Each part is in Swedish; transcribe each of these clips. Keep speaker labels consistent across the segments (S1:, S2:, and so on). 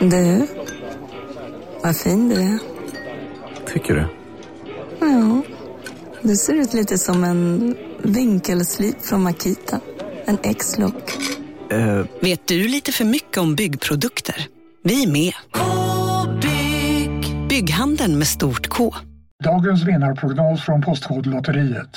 S1: Du, vad fin du är.
S2: Tycker du?
S1: Ja, du ser ut lite som en vinkelslip från Makita. En X-look.
S2: Eh,
S3: Vet du lite för mycket om byggprodukter? Vi är med. -bygg. Bygghandeln med stort K.
S4: Dagens vinnarprognos från Postkodlotteriet.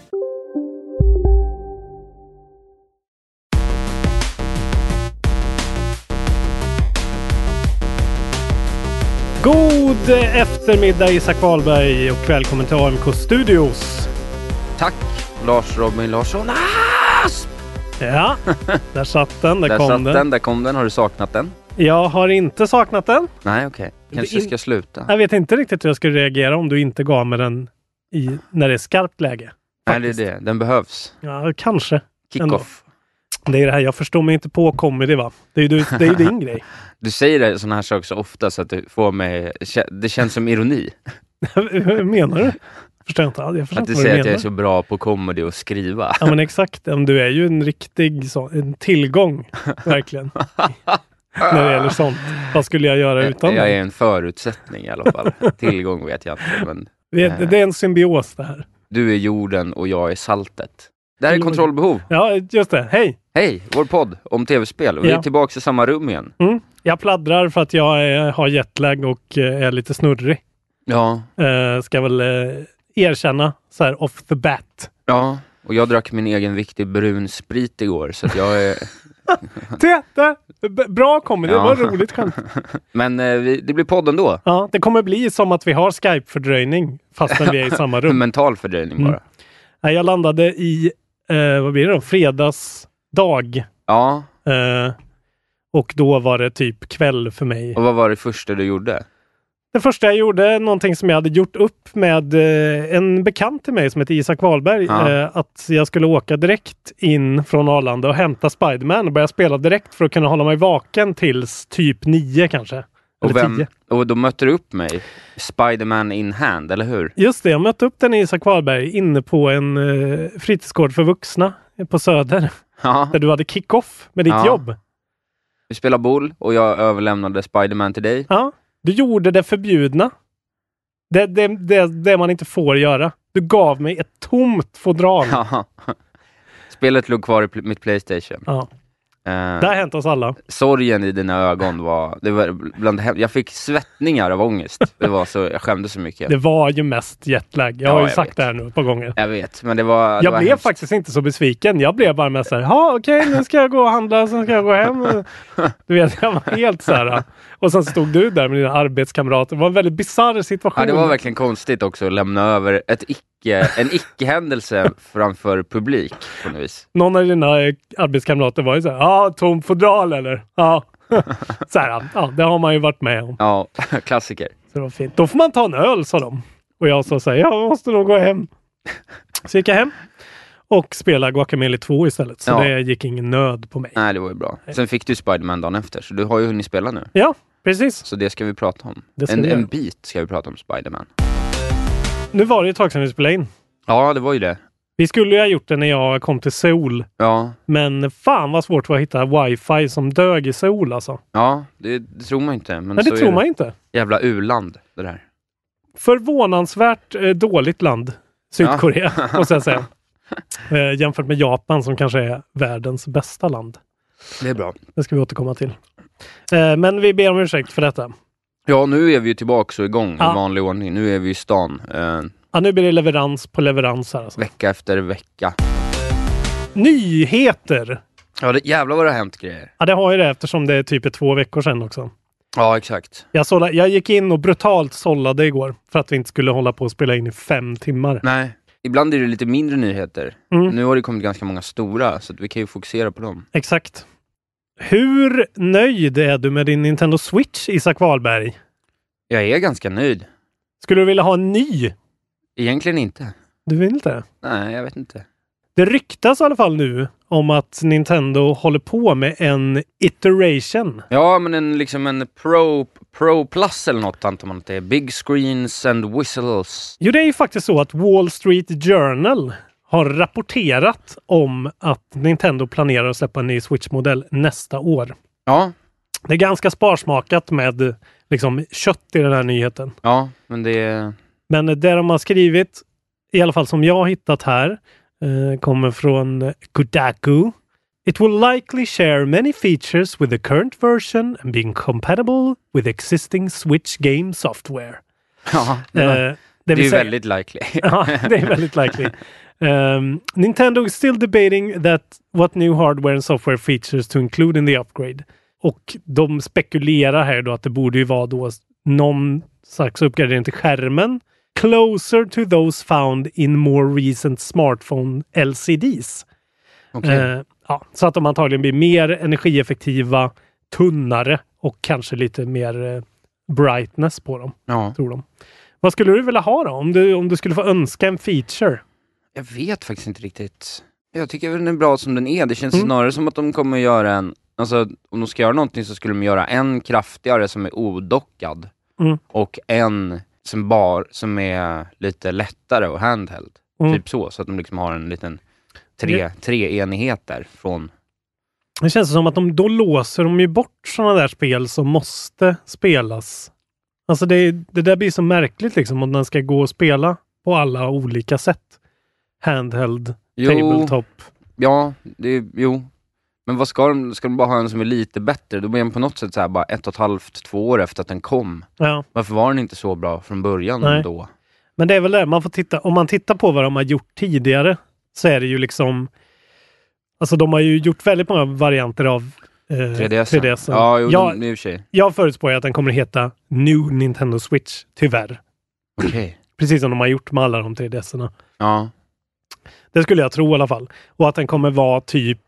S5: God eftermiddag Isak Wahlberg och välkommen till AMK Studios.
S6: Tack Lars Robin Larsson. Asp!
S5: Ah! Ja, där satt den. Där,
S6: där
S5: kom
S6: satt den. Där kom den. Har du saknat den?
S5: Jag har inte saknat den.
S6: Nej, okej. Kanske
S5: in-
S6: ska sluta.
S5: Jag vet inte riktigt hur jag skulle reagera om du inte gav mig den i, när det är skarpt läge.
S6: Nej, det är det. Den behövs.
S5: Ja, kanske. ändå.
S6: Kickoff.
S5: Det är det här, jag förstår mig inte på comedy va? Det är ju du- det är ju din grej.
S6: Du säger det- såna här saker så ofta så att du får mig... Det känns som ironi.
S5: Hur menar du? Förstår jag inte. alls. Jag förstår
S6: Att du
S5: inte vad du
S6: säger att
S5: menar.
S6: jag är så bra på comedy och skriva.
S5: Ja men exakt. Ja, men Du är ju en riktig så, en tillgång, verkligen. när det gäller sånt. Vad skulle jag göra utan
S6: jag
S5: dig?
S6: är en förutsättning i alla fall. Tillgång vet jag inte, men eh.
S5: Det, är- det är en symbios det här.
S6: du är jorden och jag är saltet. Det här är Kontrollbehov.
S5: Ja, just det. Hej!
S6: Hej, vår podd om tv-spel. Vi är
S5: Ja.
S6: tillbaka i samma rum igen.
S5: Mm. Jag pladdrar för att jag är, har jetlag och eh, är lite snurrig.
S6: Ja,
S5: Eh, ska väl eh, erkänna så här off the bat.
S6: ja. Och jag drack min egen viktig brun sprit igår, så att jag är...
S5: Det, det, b- bra comedy.
S6: Ja.
S5: Det var roligt skämt.
S6: Men eh, vi, det blir podd ändå.
S5: Ja, det kommer bli som att vi har Skype-fördröjning fastän vi är i samma
S6: En
S5: rum.
S6: mental fördröjning bara.
S5: Mm. Nej, jag landade i, eh, vad blir det då, fredagsdag.
S6: Ja,
S5: Eh, och då var det typ kväll för mig.
S6: och vad var det första du gjorde?
S5: Det första jag gjorde, någonting som jag hade gjort upp med eh, en bekant till mig som heter Isak Wahlberg,
S6: Ja.
S5: eh, att jag skulle åka direkt in från Arlanda och hämta Spiderman och börja spela direkt för att kunna hålla mig vaken tills typ nio kanske.
S6: Och,
S5: Eller tio.
S6: och då mötte du upp mig, Spiderman in hand, eller hur?
S5: Just det, jag mötte upp den i Isak Wahlberg inne på en eh, fritidsgård för vuxna eh, på Söder,
S6: Ja,
S5: där du hade kick-off med ditt
S6: Ja.
S5: jobb.
S6: vi spelade boll och jag överlämnade Spiderman till dig.
S5: Ja, du gjorde det förbjudna. Det, det, det, det man inte får göra. Du gav mig ett tomt fodral. Ja.
S6: Ja. Spelet låg kvar i pl- mitt Playstation. Eh,
S5: Det har hänt oss alla.
S6: sorgen i dina ögon var... Det var bland, det hem- jag fick svettningar av ångest. Det var så, jag skämdes så mycket.
S5: Det var ju mest jetlag. Jag
S6: Ja,
S5: har ju
S6: jag
S5: sagt
S6: vet.
S5: det här nu ett par gånger.
S6: Jag vet, men det var... det
S5: Jag
S6: var
S5: blev
S6: hemskt.
S5: faktiskt inte så besviken. Jag blev bara med så här, ja okej nu ska jag gå och handla, sen ska jag gå hem. Du vet, jag var helt så här. Och sen stod du där med dina arbetskamrater. Det var en väldigt bisarr situation.
S6: Ja, det var verkligen konstigt också att lämna över ett icke, en icke-händelse framför publik på något vis.
S5: Någon av dina eh, arbetskamrater var ju så här, ja tom fodral eller? Ja. Så här, ja det har man ju varit med om.
S6: Ja, klassiker.
S5: Så det var fint. Då får man ta en öl, sa de. Och jag sa så här, jag måste nog gå hem. Så gick jag hem och spelade Guacamelee 2 istället. Så
S6: Ja.
S5: det gick ingen nöd på mig.
S6: Nej, det var ju bra. Sen fick du Spiderman dagen efter, så du har ju hunnit spela nu.
S5: Ja, precis.
S6: Så det ska vi prata om.
S5: Det ska
S6: En,
S5: vi göra.
S6: en bit ska vi prata om Spiderman.
S5: Nu var det ju ett tag sedan vi spelade in.
S6: Ja, det var ju det.
S5: Vi skulle ju ha gjort det när jag kom till Seoul.
S6: Ja,
S5: Men fan vad svårt det var att hitta wifi som dög i Seoul alltså.
S6: ja det, det tror man inte. Men
S5: Men
S6: så
S5: det
S6: är
S5: tror man inte.
S6: Jävla u-land, det där.
S5: Förvånansvärt eh, dåligt land, Sydkorea, måste jag säga. Eh, jämfört med Japan som kanske är världens bästa land.
S6: Det är bra.
S5: Det ska vi återkomma till. Eh, men vi ber om ursäkt för detta.
S6: Ja, nu är vi ju tillbaka och igång
S5: Ja.
S6: i vanlig ordning. Nu är vi i stan, eh,
S5: Ja, nu blir det leverans på leverans här. Alltså.
S6: vecka efter vecka.
S5: Nyheter!
S6: Ja, det, jävlar vad det har hänt grejer.
S5: Ja, det har ju det eftersom det är typ är två veckor sedan också.
S6: Ja, exakt.
S5: Jag, sålla, jag gick in och brutalt sållade igår för att vi inte skulle hålla på och spela in i fem timmar.
S6: Nej. Ibland är det lite mindre nyheter.
S5: Mm.
S6: Nu har det kommit ganska många stora, så att vi kan ju fokusera på dem.
S5: Exakt. Hur nöjd är du med din Nintendo Switch, Isak Wahlberg?
S6: Jag är ganska nöjd.
S5: Skulle du vilja ha en ny?
S6: Egentligen inte.
S5: Du vill inte?
S6: Nej, jag vet inte.
S5: Det ryktas i alla fall nu om att Nintendo håller på med en iteration.
S6: Ja, men en, liksom en Pro, Pro Plus eller något antar man att det är. Big screens and whistles.
S5: Jo, det är ju faktiskt så att Wall Street Journal har rapporterat om att Nintendo planerar att släppa en ny Switch-modell nästa år.
S6: Ja,
S5: Det är ganska sparsmakat med liksom, kött i den här nyheten.
S6: ja, men det är...
S5: Men det de har skrivit, i alla fall som jag har hittat här, eh, kommer från Kodaku. It will likely share many features with the current version and being compatible with existing Switch game software.
S6: Ja,
S5: Eh,
S6: det Eh.
S5: det
S6: är
S5: vill
S6: ju
S5: säga-
S6: väldigt likely.
S5: Ja, det är väldigt likely. Um, Nintendo is still debating that what new hardware and software features to include in the upgrade. Och de spekulerar här då att det borde ju vara då någon slags uppgradering till skärmen. Closer to those found in more recent smartphone LCDs.
S6: Okej.
S5: Eh, ja, så att de antagligen blir mer energieffektiva, tunnare och kanske lite mer eh, brightness på dem
S6: Ja.
S5: tror de. Vad skulle du vilja ha då? Om du, om du skulle få önska en feature?
S6: Jag vet faktiskt inte riktigt. Jag tycker väl den är bra som den är. Det
S5: Mm.
S6: känns snarare som att de kommer att göra en... Alltså, om de ska göra någonting så skulle de göra en kraftigare som är odockad
S5: Mm.
S6: och en som, bar, som är lite lättare och handheld.
S5: Mm.
S6: Typ så, så att de liksom har en liten tre, tre enheter från...
S5: Det känns som att de, då låser de ju bort sådana där spel som måste spelas. Alltså det, det där blir så märkligt liksom om den ska gå och spela på alla olika sätt. Handheld,
S6: Jo.
S5: tabletop.
S6: Ja, det, jo. Men vad ska de, ska de bara ha en som är lite bättre? Då blir den på något sätt så här bara ett och ett halvt, två år efter att den kom.
S5: Ja.
S6: Varför var den inte så bra från början
S5: Nej.
S6: då?
S5: Men det är väl det, man får titta, om man tittar på vad de har gjort tidigare så är det ju liksom Alltså de har ju gjort väldigt många varianter av eh,
S6: 3DS?
S5: 3DS.
S6: Ja, jo,
S5: jag,
S6: den- i och för sig.
S5: Jag förutspår ju att den kommer heta New Nintendo Switch, tyvärr.
S6: Okej.
S5: Precis som de har gjort med alla de 3DS-erna.
S6: Ja.
S5: Det skulle jag tro i alla fall. Och att den kommer vara typ...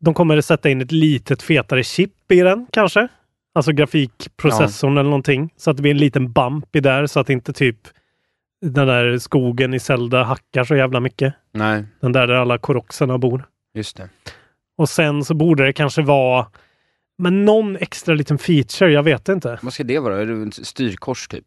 S5: De kommer sätta in ett litet fetare chip i den kanske. Alltså grafikprocessorn eller någonting. Så att det blir en liten bump i där så att inte typ den där skogen i Zelda hackar så jävla mycket.
S6: Nej,
S5: Den där där alla koroxerna bor.
S6: just det.
S5: Och sen så borde det kanske vara men någon extra liten feature, jag vet inte.
S6: Vad ska det vara? Är det ett styrkors typ?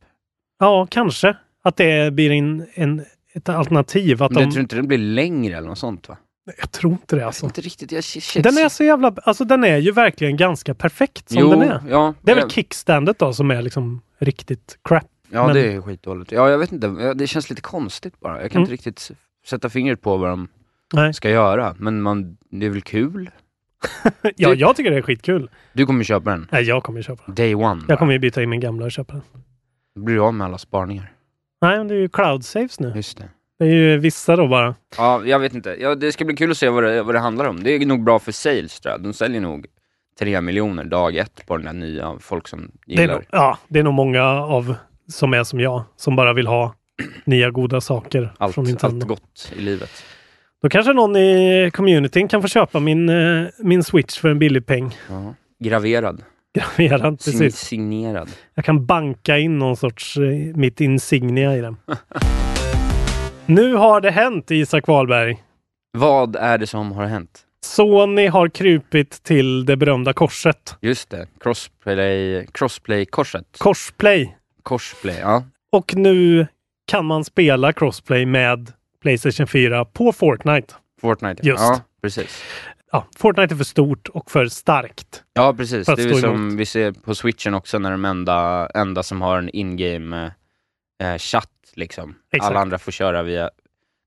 S5: Ja, kanske. Att det blir en, en, ett alternativ. Att
S6: Men
S5: de,
S6: jag tror inte den blir längre eller något sånt va?
S5: Jag tror inte det alltså.
S6: Inte riktigt. Jag känns...
S5: Den är så jävla... Alltså den är ju verkligen ganska perfekt som
S6: jo,
S5: den är.
S6: Ja,
S5: Det är väl
S6: jag-
S5: kickstandet då som är liksom riktigt crap.
S6: Ja,
S5: men-
S6: det är skitdåligt. Ja, jag vet inte. Ja, Det känns lite konstigt bara. Jag kan
S5: Mm.
S6: inte riktigt s- sätta fingret på vad de
S5: Nej.
S6: ska göra. Men man, det är väl kul?
S5: Ja,
S6: Det-
S5: jag tycker det är skitkul.
S6: Du kommer köpa den.
S5: Nej, jag kommer ju köpa den.
S6: Day one. bara.
S5: Jag kommer ju byta in min gamla och köpa den.
S6: Då blir du av med alla sparningar.
S5: Nej, men det är ju cloud saves nu.
S6: Just det.
S5: Det är ju vissa då bara.
S6: Ja, jag vet inte. Ja, det ska bli kul att se vad det, vad det handlar om. Det är nog bra för sales tror jag. De säljer nog 3 miljoner dag ett på den där nya, folk som
S5: Det är,
S6: gillar.
S5: nog, ja, det är nog många av som är som jag, som bara vill ha nya goda saker från
S6: allt,
S5: Nintendo.
S6: allt gott i livet.
S5: Då kanske någon i communityn kan få köpa min, eh, min switch för en billig peng.
S6: Ja. Graverad.
S5: Graverad,
S6: Sign-
S5: precis.
S6: Signerad.
S5: Jag kan banka in någon sorts, eh, mitt insignia i den. nu har det hänt Isak Wahlberg.
S6: Vad är det som har hänt?
S5: Sony har krupit till det berömda korset.
S6: Just det, crossplay, crossplay-korset.
S5: Korsplay.
S6: Korsplay, ja.
S5: Och nu kan man spela crossplay med Playstation 4 på Fortnite.
S6: Fortnite.
S5: Just.
S6: Ja, precis.
S5: Ja, Fortnite är för stort och för starkt.
S6: Ja, precis.
S5: För att
S6: Det är ju
S5: stå
S6: som
S5: emot.
S6: vi ser på switchen också när de enda, enda som har en in-game eh, chatt liksom.
S5: Exakt.
S6: Alla andra får köra via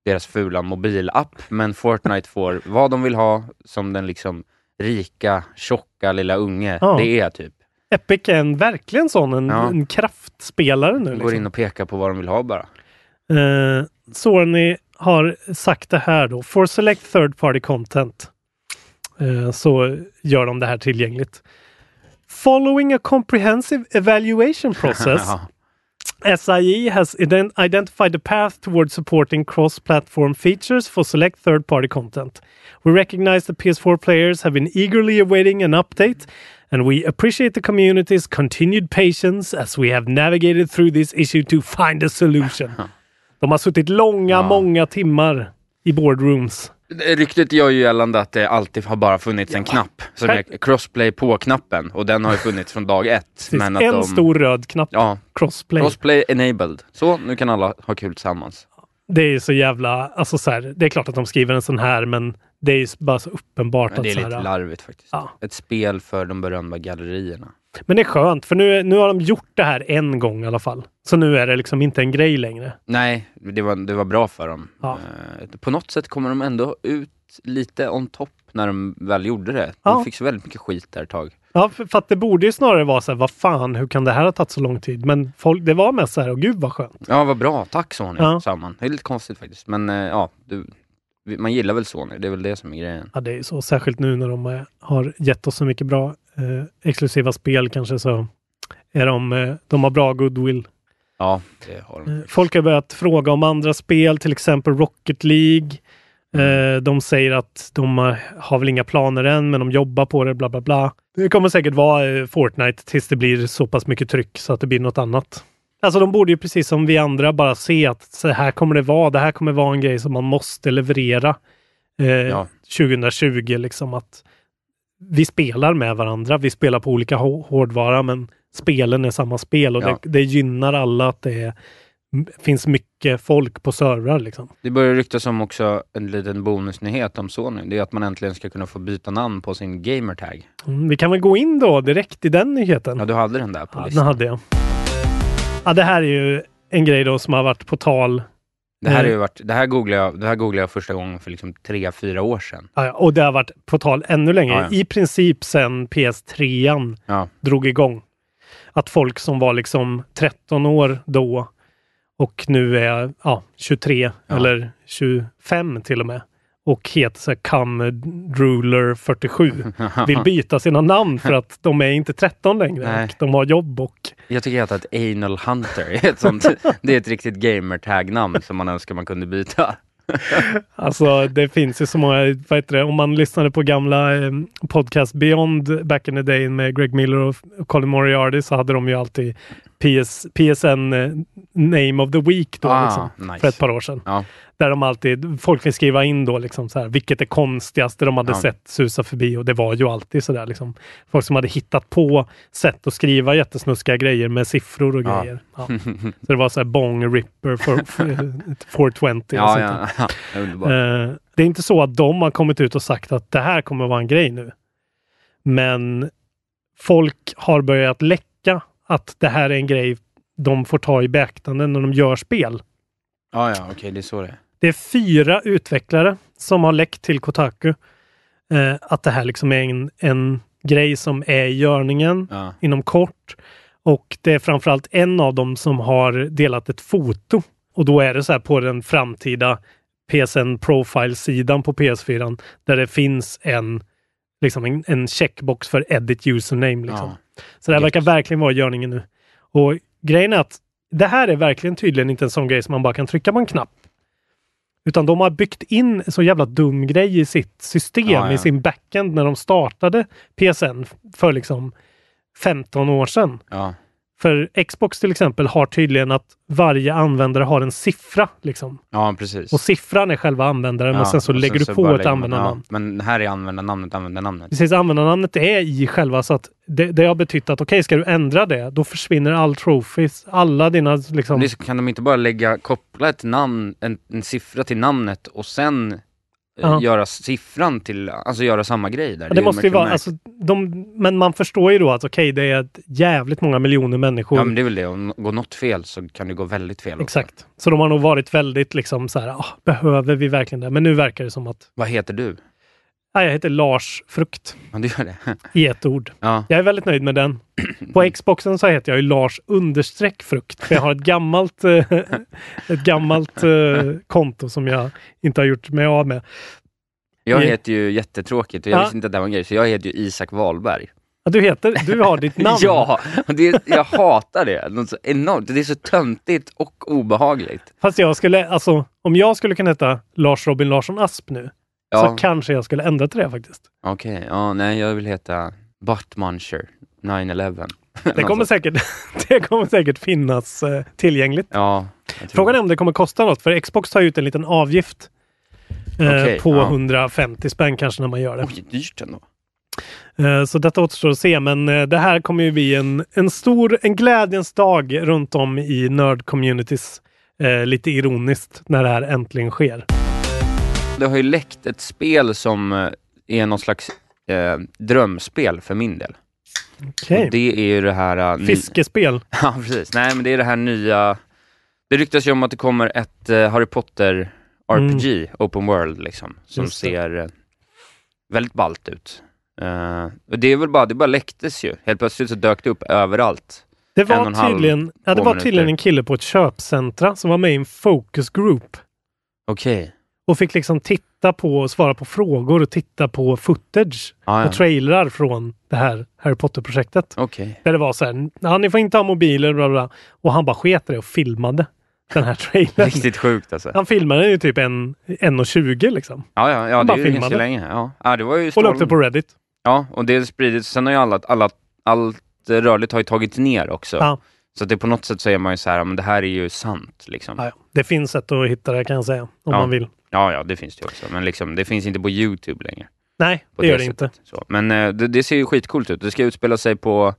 S6: deras fula mobilapp, men Fortnite får vad de vill ha som den liksom rika, tjocka lilla unge
S5: Ja.
S6: det är typ.
S5: Epic är en, verkligen sån, en,
S6: Ja.
S5: en kraftspelare nu.
S6: Går
S5: Liksom.
S6: in och pekar på vad de vill ha bara.
S5: Eh, Sony har sagt det här då. For select third party content. eh, så gör de det här tillgängligt. Following a comprehensive evaluation process,
S6: Ja.
S5: SIE E has ident- identified a path toward supporting cross-platform features for select third-party content. We recognize that PS4 players have been eagerly awaiting an update, and we appreciate the community's continued patience as we have navigated through this issue to find a solution. De har suttit långa, många timmar i boardrooms.
S6: Ryktet gör ju gällande att det alltid har bara funnits en knapp, som är crossplay på-knappen, och den har ju funnits från dag ett.
S5: Precis, en stor röd knapp.
S6: Ja,
S5: Crossplay.
S6: crossplay enabled. Så, nu kan alla ha kul tillsammans.
S5: Det är ju så jävla, alltså så här, det är klart att de skriver en sån här, men det är ju bara så uppenbart
S6: Men det är
S5: att så
S6: lite
S5: här,
S6: larvigt faktiskt.
S5: Ja.
S6: Ett spel för de berömda gallerierna.
S5: Men det är skönt, för nu, nu har de gjort det här en gång i alla fall. Så nu är det liksom inte en grej längre.
S6: Nej, det var, det var bra för dem.
S5: Ja.
S6: Eh, På något sätt kommer de ändå ut lite on top när de väl gjorde det. De
S5: Ja.
S6: fick så väldigt mycket skit där ett tag.
S5: Ja, för, för att det borde ju snarare vara så här, vad fan, hur kan det här ha tagit så lång tid? Men folk, det var mest så här, åh gud vad skönt.
S6: Ja, vad bra. Tack Sony,
S5: Ja.
S6: sa man. Det är lite konstigt faktiskt. Men eh, ja, du, vi- man gillar väl Sony. Det är väl det som är grejen.
S5: Ja, det är ju så, särskilt nu när de eh, har gett oss så mycket bra eh, exklusiva spel kanske så är de, eh, de har bra goodwill.
S6: Ja, det har de.
S5: Eh, Folk har börjat fråga om andra spel, till exempel Rocket League. Eh, De säger att de eh, har väl inga planer än, men de jobbar på det, bla bla bla. Det kommer säkert vara eh, Fortnite tills det blir så pass mycket tryck så att det blir något annat. Alltså de borde ju precis som vi andra bara se att så här kommer det vara, det här kommer vara en grej som man måste leverera eh,
S6: Ja.
S5: 2020. Liksom att vi spelar med varandra, vi spelar på olika hå- hårdvara men spelen är samma spel och
S6: Ja.
S5: det, det gynnar alla att det är, m- finns mycket folk på servrar. Liksom.
S6: Det börjar ryktas om också en liten bonusnyhet om Sony. Det är att man äntligen ska kunna få byta namn på sin gamertag.
S5: Mm, vi kan väl gå in då direkt i den nyheten.
S6: Ja, du hade den där på
S5: Ja, den
S6: listan.
S5: hade jag. Ja, det här är ju en grej då som har varit på tal
S6: Det här, har
S5: Nej.
S6: ju varit, det, här googlade jag, det här googlade jag första gången för liksom tre, fyra år sedan.
S5: ja, ja, och det har varit på tal ännu längre.
S6: Ja, ja.
S5: I princip sedan PS3 an
S6: Ja.
S5: drog igång. Att folk som var liksom 13 år då och nu är ja, 23
S6: Ja.
S5: eller 25 till och med och heter så här Come Drooler 47 vill byta sina namn för att de är inte 13 längre.
S6: Nej.
S5: Och de har jobb och
S6: Jag tycker att ett anal hunter är ett sånt, det är ett riktigt gamertag-namn som man önskar man kunde byta.
S5: Alltså det finns ju så många, vad heter det, om man lyssnade på gamla eh, podcast Beyond back in the day med Greg Miller och Colin Moriarty så hade de ju alltid PS, PSN eh, Name of the Week då
S6: Ah,
S5: liksom,
S6: nice.
S5: för ett par år sedan.
S6: Ja.
S5: Där de alltid, folk vill skriva in då liksom så här, vilket är konstigaste de hade
S6: Ja.
S5: sett susa förbi och det var ju alltid sådär liksom. Folk som hade hittat på sätt att skriva jättesnuskiga grejer med siffror och
S6: Ja.
S5: grejer. Ja. Så det var så här bong ripper for, for, 420 och sånt
S6: Ja,
S5: där.
S6: ja, ja. Underbart.
S5: Eh, det är inte så att de har kommit ut och sagt att det här kommer vara en grej nu. Men folk har börjat läcka att det här är en grej de får ta i beaktande när de gör spel.
S6: Ja, ja, okej, det är så det är.
S5: Det är fyra utvecklare som har läckt till Kotaku eh, att det här liksom är en, en grej som är i görningen
S6: Ja.
S5: inom kort. Och det är framförallt en av dem som har delat ett foto. Och då är det så här på den framtida PSN Profile-sidan på PS4 där det finns en, liksom en, en checkbox för edit username. Liksom.
S6: Ja.
S5: Så det här verkar verkligen vara i görningen nu. Och grejen är att det här är verkligen tydligen inte en sån grej som man bara kan trycka på en knapp. Utan de har byggt in en så jävla dum grej i sitt system,
S6: Ja, ja.
S5: i sin backend när de startade PSN för liksom 15 år sedan.
S6: Ja.
S5: För Xbox till exempel har tydligen att varje användare har en siffra. Liksom.
S6: ja, precis.
S5: Och siffran är själva användaren
S6: ja.
S5: och sen så
S6: och
S5: lägger du
S6: så
S5: på
S6: bara
S5: ett
S6: lägger man-
S5: användarnamn.
S6: Ja. Men här är användarnamnet, användarnamnet.
S5: Precis, användarnamnet är i själva så att det, det har betytt att okej, ska du ändra det, då försvinner all trophies, alla dina liksom...
S6: Det är så- kan de inte bara lägga, koppla ett namn, en, en siffra till namnet och sen eh,
S5: Ja.
S6: göra siffran till, alltså göra samma grej där.
S5: Ja,
S6: är
S5: det måste ju vara,
S6: märkligt.
S5: alltså, de, men man förstår ju då att okej, det är ett jävligt många miljoner människor.
S6: Ja men det är väl det, om går något fel så kan det gå väldigt fel också.
S5: Exakt. Så de har nog varit väldigt liksom så här, ah, behöver vi verkligen det? Men nu verkar det som att,
S6: Vad heter du?
S5: nej, jag heter Lars Frukt
S6: Ja, du gör det.
S5: i ett ord.
S6: Ja,
S5: Jag är väldigt nöjd med den. På Xboxen så heter jag ju Lars understreck frukt. För jag har ett gammalt, eh, ett gammalt eh, konto som jag inte har gjort mig av med.
S6: Jag
S5: Ja.
S6: heter ju jättetråkigt och jag
S5: Ja.
S6: visste inte att det här var en grej, så jag heter ju Isak Wahlberg.
S5: Ja, Du heter, du har ditt namn.
S6: Ja, och det, jag hatar det. Något så enormt. Det är så töntigt och obehagligt.
S5: Fast jag skulle, alltså om jag skulle kunna heta Lars Robin Larsson Asp nu,
S6: Ja,
S5: så kanske jag skulle ändra till det faktiskt.
S6: okej. Ja, nej, jag vill heta Buttmuncher 911.
S5: Det kommer säkert, det kommer säkert finnas eh, tillgängligt.
S6: Ja. jag tror-
S5: Frågan är om det kommer kosta något, för Xbox tar ut en liten avgift eh,
S6: Okej,
S5: på
S6: ja.
S5: 150 spänn kanske när man gör det.
S6: Oj, dyrt ändå.
S5: Eh, Så detta återstår att se, men eh, det här kommer ju bli en, en stor, en glädjens dag runt om i nörd-communities. Eh, lite ironiskt när det här äntligen sker.
S6: Det har ju läckt ett spel som eh, är någon slags eh, drömspel för min del.
S5: Okej.
S6: Och det är ju det här... eh, ny-
S5: Fiskespel.
S6: Ja, precis. Nej, men det är det här nya... Det ryktas ju om att det kommer ett eh, Harry Potter RPG, Open World, liksom, som
S5: Mm. Just det.
S6: ser eh, väldigt ballt ut. Eh, och det är väl bara, det bara läcktes ju. Helt plötsligt så dök det upp överallt.
S5: Det
S6: en och en
S5: var
S6: halv, typ.
S5: tydligen, ja, det
S6: två
S5: var tydligen
S6: minuter.
S5: en kille på ett köpcentra som var med i en focus group
S6: Okej.
S5: och fick liksom titta på och svara på frågor och titta på footage
S6: Ah, ja.
S5: och trailrar från det här Harry Potter-projektet.
S6: Okej.
S5: Där det var så här, ja, ni får inte ha mobiler bla bla. bla." Och han bara sket i det och filmade den här trailern.
S6: Riktigt sjukt alltså. Ja,
S5: Han filmade den ju typ en- 1.20 liksom.
S6: ja, ja
S5: Han
S6: det
S5: bara
S6: är ju ganska
S5: filmade.
S6: länge. Ja. ja, det var ju
S5: Och la
S6: storm.
S5: upp det på Reddit.
S6: Ja, och det spridits. Sen har ju alla, alla, allt rörligt har ju tagits ner också.
S5: Ja.
S6: Så att det på något sätt så är man ju så här, ja, men det här är ju sant liksom.
S5: Ja, ja. Det finns sätt att hitta det kan jag säga. Om
S6: Ja.
S5: man vill.
S6: Ja, ja, det finns det också. Men liksom, det finns inte på YouTube längre.
S5: Nej,
S6: På
S5: det gör det
S6: sättet.
S5: inte.
S6: Så. Men eh, det, det ser ju skitcoolt ut. Det ska utspela sig på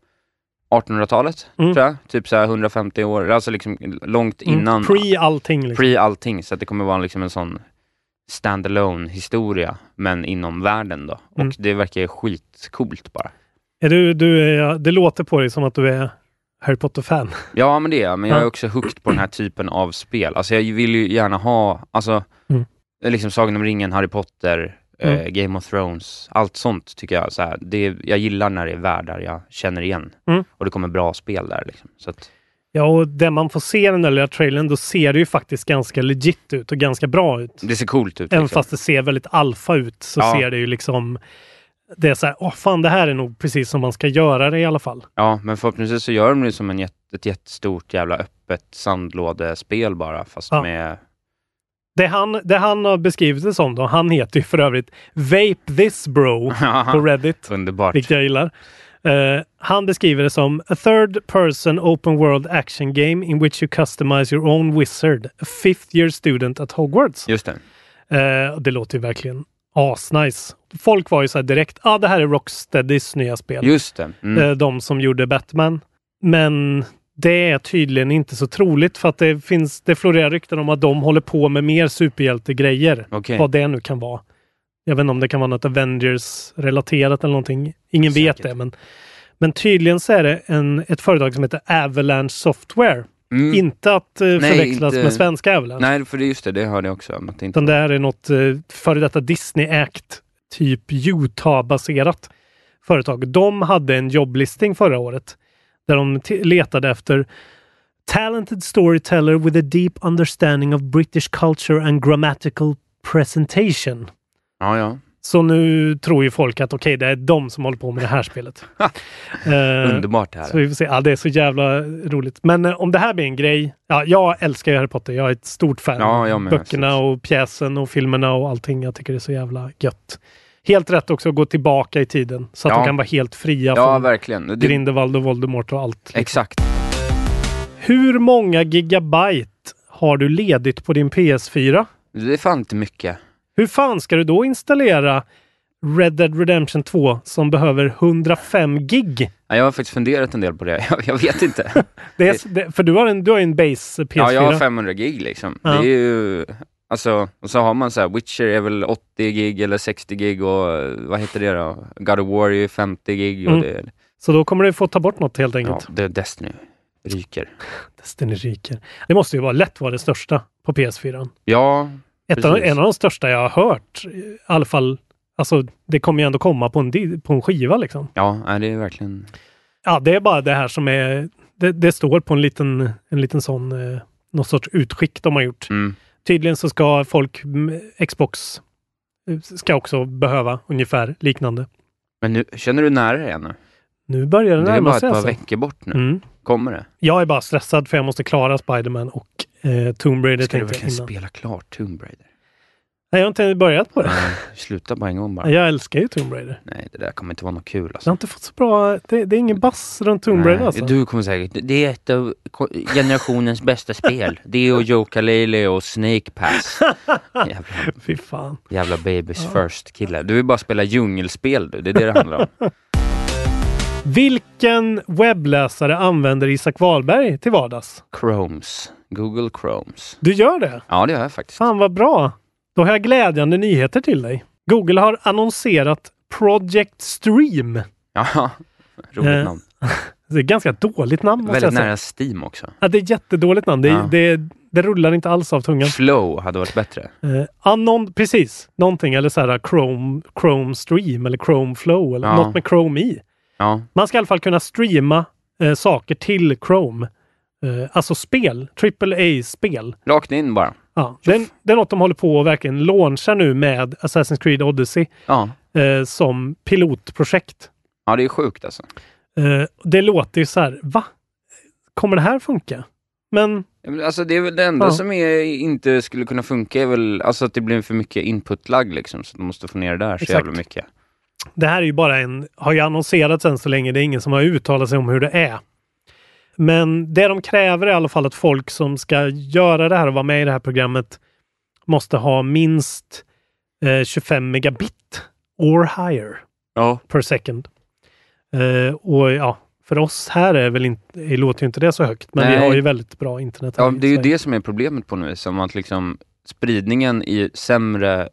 S6: 1800-talet,
S5: Mm.
S6: tror jag. Typ så här 150 år. Alltså liksom långt
S5: Mm,
S6: innan.
S5: Pre allting liksom.
S6: pre allting. Så att det kommer vara liksom en sån standalone historia, men inom världen då. Och
S5: Mm.
S6: det verkar ju skitcoolt bara.
S5: Är du, du är, det låter på dig som att du är Harry Potter-fan.
S6: Ja, men det är jag. Men jag
S5: Ja.
S6: är också hooked på den här typen av spel. Alltså jag vill ju gärna ha, alltså,
S5: Mm.
S6: liksom Sagan om ringen, Harry Potter, eh, Game of Thrones, allt sånt tycker jag. Så här, det, är- jag gillar när det är världar jag känner igen.
S5: Mm.
S6: Och det kommer bra spel där. Liksom. Så att,
S5: Ja, och det man får se i den där lilla trailern, då ser det ju faktiskt ganska legit ut och ganska bra ut.
S6: det ser coolt ut.
S5: Även
S6: liksom.
S5: fast det ser väldigt alfa ut så
S6: Ja.
S5: ser det ju liksom... Det är så här, åh fan, det här är nog precis som man ska göra det i alla fall.
S6: Ja, men förhoppningsvis så gör de det som en jätte, ett jättestort jävla öppet sandlådespel bara, fast
S5: Ja.
S6: med...
S5: Det han, det han har beskrivit det som då, han heter ju för övrigt Vape This Bro på Reddit,
S6: Underbart.
S5: vilket jag gillar. Eh, han beskriver det som a third person open world action game in which you customize your own wizard, a fifth year student at Hogwarts.
S6: Just det.
S5: Eh, och det låter ju verkligen asnice. Folk var ju så här direkt, ja ah, det här är Rocksteadys nya spel.
S6: Just det. Mm.
S5: Eh, de som gjorde Batman. Men det är tydligen inte så troligt för att det finns, det florerar rykten om att de håller på med mer superhjältegrejer.
S6: Okej.
S5: Vad det nu kan vara. Jag vet inte om det kan vara något Avengers-relaterat eller någonting. Ingen vet
S6: Säkert.
S5: det, men, men tydligen så är det en, ett företag som heter Avalanche Software.
S6: Mm.
S5: Inte att eh, förväxlas
S6: inte-
S5: med svenska Avalanche.
S6: Nej, för det, just det, det hörde jag också. om Att det inte...
S5: Utan det här är något eh, före detta Disney Act, typ Utah-baserat företag. De hade en jobblisting förra året där de t- letade efter talented storyteller with a deep understanding of British culture and grammatical presentation.
S6: Ja, ja.
S5: Så nu tror ju folk att okej, det är de som håller på med det här spelet. Eh,
S6: Underbart det här.
S5: så vi får se. Ja, det är så jävla roligt. Men eh, om det här blir en grej. Ja, jag älskar ju Harry Potter. Jag är ett stort fan.
S6: Ja,
S5: av
S6: jag med,
S5: Böckerna och pjäsen och filmerna och allting. Jag tycker det är så jävla gött. Helt rätt också att gå tillbaka i tiden så att
S6: Ja.
S5: de kan vara helt fria
S6: Ja,
S5: från
S6: verkligen. Det-
S5: Grindelwald och Voldemort och allt.
S6: Exakt.
S5: Hur många gigabyte har du ledigt på din PS4?
S6: Det är fan inte mycket.
S5: Hur fan ska du då installera Red Dead Redemption 2 som behöver 105 gig?
S6: Ja, Jag har faktiskt funderat en del på det. Jag, jag vet inte.
S5: Det är, det, för du har en, du har ju en base PS4.
S6: ja, jag har 500 gig liksom.
S5: Ja.
S6: Det är ju... Alltså, och så har man så här, Witcher är väl 80 gig eller 60 gig och eh, vad heter det då? God of War är ju 50 gig och
S5: Mm.
S6: det,
S5: Så då kommer du få ta bort något helt
S6: ja,
S5: enkelt.
S6: det är Destiny. Ryker.
S5: Destiny ryker. Det måste ju vara lätt vara det största på PS4.
S6: Ja,
S5: Ett av,
S6: Precis.
S5: en av de största jag har hört. I alla fall, alltså det kommer ju ändå komma på en, di- på en skiva liksom.
S6: ja, nej, det är verkligen...
S5: Ja, det är bara det här som är... Det, det står på en liten, en liten sån, eh, någon sorts utskick de har gjort.
S6: Mm.
S5: Tydligen så ska folk, mm, Xbox ska också behöva ungefär liknande.
S6: Men nu, känner du nära dig ännu?
S5: Nu börjar det
S6: Det är bara
S5: närma
S6: ett
S5: sig
S6: par
S5: alltså.
S6: veckor bort nu.
S5: Mm.
S6: Kommer det?
S5: Jag är bara stressad för jag måste klara Spiderman och eh, Tomb Raider
S6: Ska du
S5: tänkte jag
S6: verkligen
S5: innan.
S6: spela klart Tomb Raider?
S5: Nej, jag har inte börjat på det.
S6: Nej, Sluta på en gång bara.
S5: Jag älskar ju Tomb Raider.
S6: Nej, det där kommer inte vara något kul alltså.
S5: Jag har inte fått så bra... Det, det är ingen bass runt Tomb
S6: Nej,
S5: Raider alltså.
S6: Du kommer säkert, det är ett av ko- generationens bästa spel. Det och Jokalele och Snake Pass. Jävla,
S5: Fy fan.
S6: jävla babys first kille. Du vill bara spela djungelspel du, det är det det handlar om.
S5: Vilken webbläsare använder Isak Wahlberg till vardags?
S6: Chromes. Google Chromes.
S5: Du gör det?
S6: Ja, det gör jag faktiskt.
S5: Fan vad bra! Då har jag glädjande nyheter till dig. Google har annonserat Project Stream.
S6: Ja, roligt
S5: Eh,
S6: namn.
S5: Det är ett ganska dåligt namn måste jag
S6: Väldigt
S5: säga.
S6: nära Steam också.
S5: Ja, det är ett jättedåligt namn. Det,
S6: Ja.
S5: det, det rullar inte alls av tungan.
S6: Flow hade varit bättre.
S5: Eh, ja, någon, precis, någonting eller så här Chrome, Chrome Stream eller Chrome Flow eller
S6: Ja.
S5: något med Chrome i.
S6: Ja,
S5: Man ska i alla fall kunna streama eh, saker till Chrome. Eh, alltså spel, triple A-spel.
S6: rakt in bara.
S5: Ja, det, det är något de håller på att verkligen launcha nu med Assassin's Creed Odyssey
S6: Ja.
S5: eh, som pilotprojekt.
S6: ja, det är sjukt alltså.
S5: Eh, det låter ju så här, va? Kommer det här funka? Men
S6: Ja, men Alltså det är väl det enda
S5: Ja.
S6: som är, inte skulle kunna funka är väl alltså att det blir för mycket input-lag liksom, så de måste få ner det där
S5: Exakt.
S6: så jävla mycket.
S5: det här är ju bara en, har ju annonserats än så länge, det är ingen som har uttalat sig om hur det är. Men det de kräver är i alla fall att folk som ska göra det här och vara med i det här programmet måste ha minst eh, 25 megabit or higher
S6: Ja.
S5: per second. Eh, och ja, för oss här är väl inte, det låter ju inte det så högt, men vi
S6: Nej.
S5: har ju väldigt bra internet. här
S6: ja,
S5: i
S6: det är ju
S5: Sverige.
S6: det som är problemet på nu, som att liksom spridningen i sämre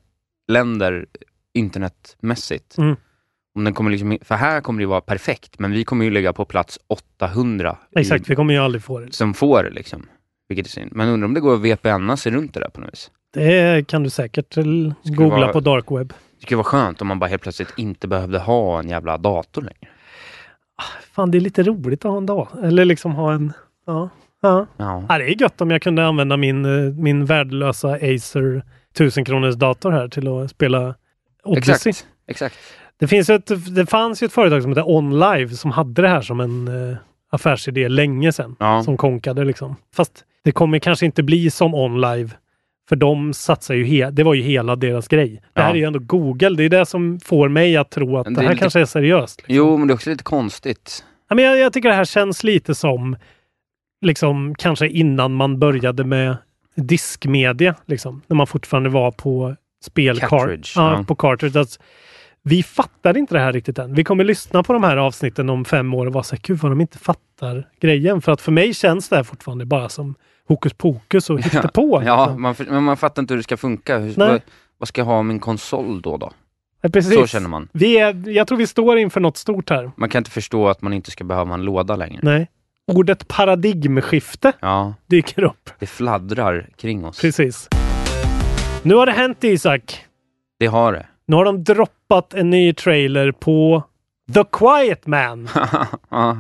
S6: länder internetmässigt,
S5: Mm.
S6: om den kommer liksom, för här kommer det ju vara perfekt, men vi kommer ju ligga på plats 800
S5: Exakt,
S6: i,
S5: vi kommer ju aldrig få det.
S6: som får det liksom. Vilket är synd. Men undrar om det går att VPNa sig runt det där på något vis.
S5: Det kan du säkert eh, googla
S6: vara-
S5: på dark web.
S6: Det skulle vara skönt om man bara helt plötsligt inte behövde ha en jävla dator längre.
S5: Fan, det är lite roligt att ha en dag. Eller liksom ha en... Ja. ja.
S6: Ja.
S5: ja det är gött om jag kunde använda min, eh, min värdelösa Acer 1000 kronors dator här till att spela Odyssey.
S6: Exakt. Exakt.
S5: Det, finns ju ett, det fanns ju ett företag som heter OnLive som hade det här som en eh, affärsidé länge sedan.
S6: Ja.
S5: Som konkade liksom. Fast det kommer kanske inte bli som OnLive. För de satsar ju, he- det var ju hela deras grej. Det här
S6: Ja.
S5: är ju ändå Google, det är det som får mig att tro att det,
S6: Men det är
S5: här
S6: lite-
S5: kanske är seriöst. Liksom.
S6: Jo, men det är också lite konstigt.
S5: Ja, men jag, jag tycker det här känns lite som liksom kanske innan man började med diskmedia, liksom, när man fortfarande var på spelkart.
S6: Cartridge,
S5: Ja,
S6: ja.
S5: på cartridge. Alltså, vi fattar inte det här riktigt än. Vi kommer lyssna på de här avsnitten om fem år och vara så här, gud vad de inte fattar grejen. För att för mig känns det här fortfarande bara som hokus pokus och hittepå.
S6: Ja,
S5: liksom.
S6: man, för- men man fattar inte hur det ska funka. Hur,
S5: Nej.
S6: vad, vad ska jag ha min konsol då? då?
S5: Ja, precis.
S6: Så känner man.
S5: Vi är, jag tror vi står inför något stort här.
S6: Man kan inte förstå att man inte ska behöva en låda längre.
S5: Nej. Ordet paradigmskifte
S6: Ja,
S5: dyker upp.
S6: det fladdrar kring oss.
S5: Precis. Nu har det hänt Isak.
S6: Det har det.
S5: Nu har de droppat en ny trailer på The Quiet Man.
S6: Ja.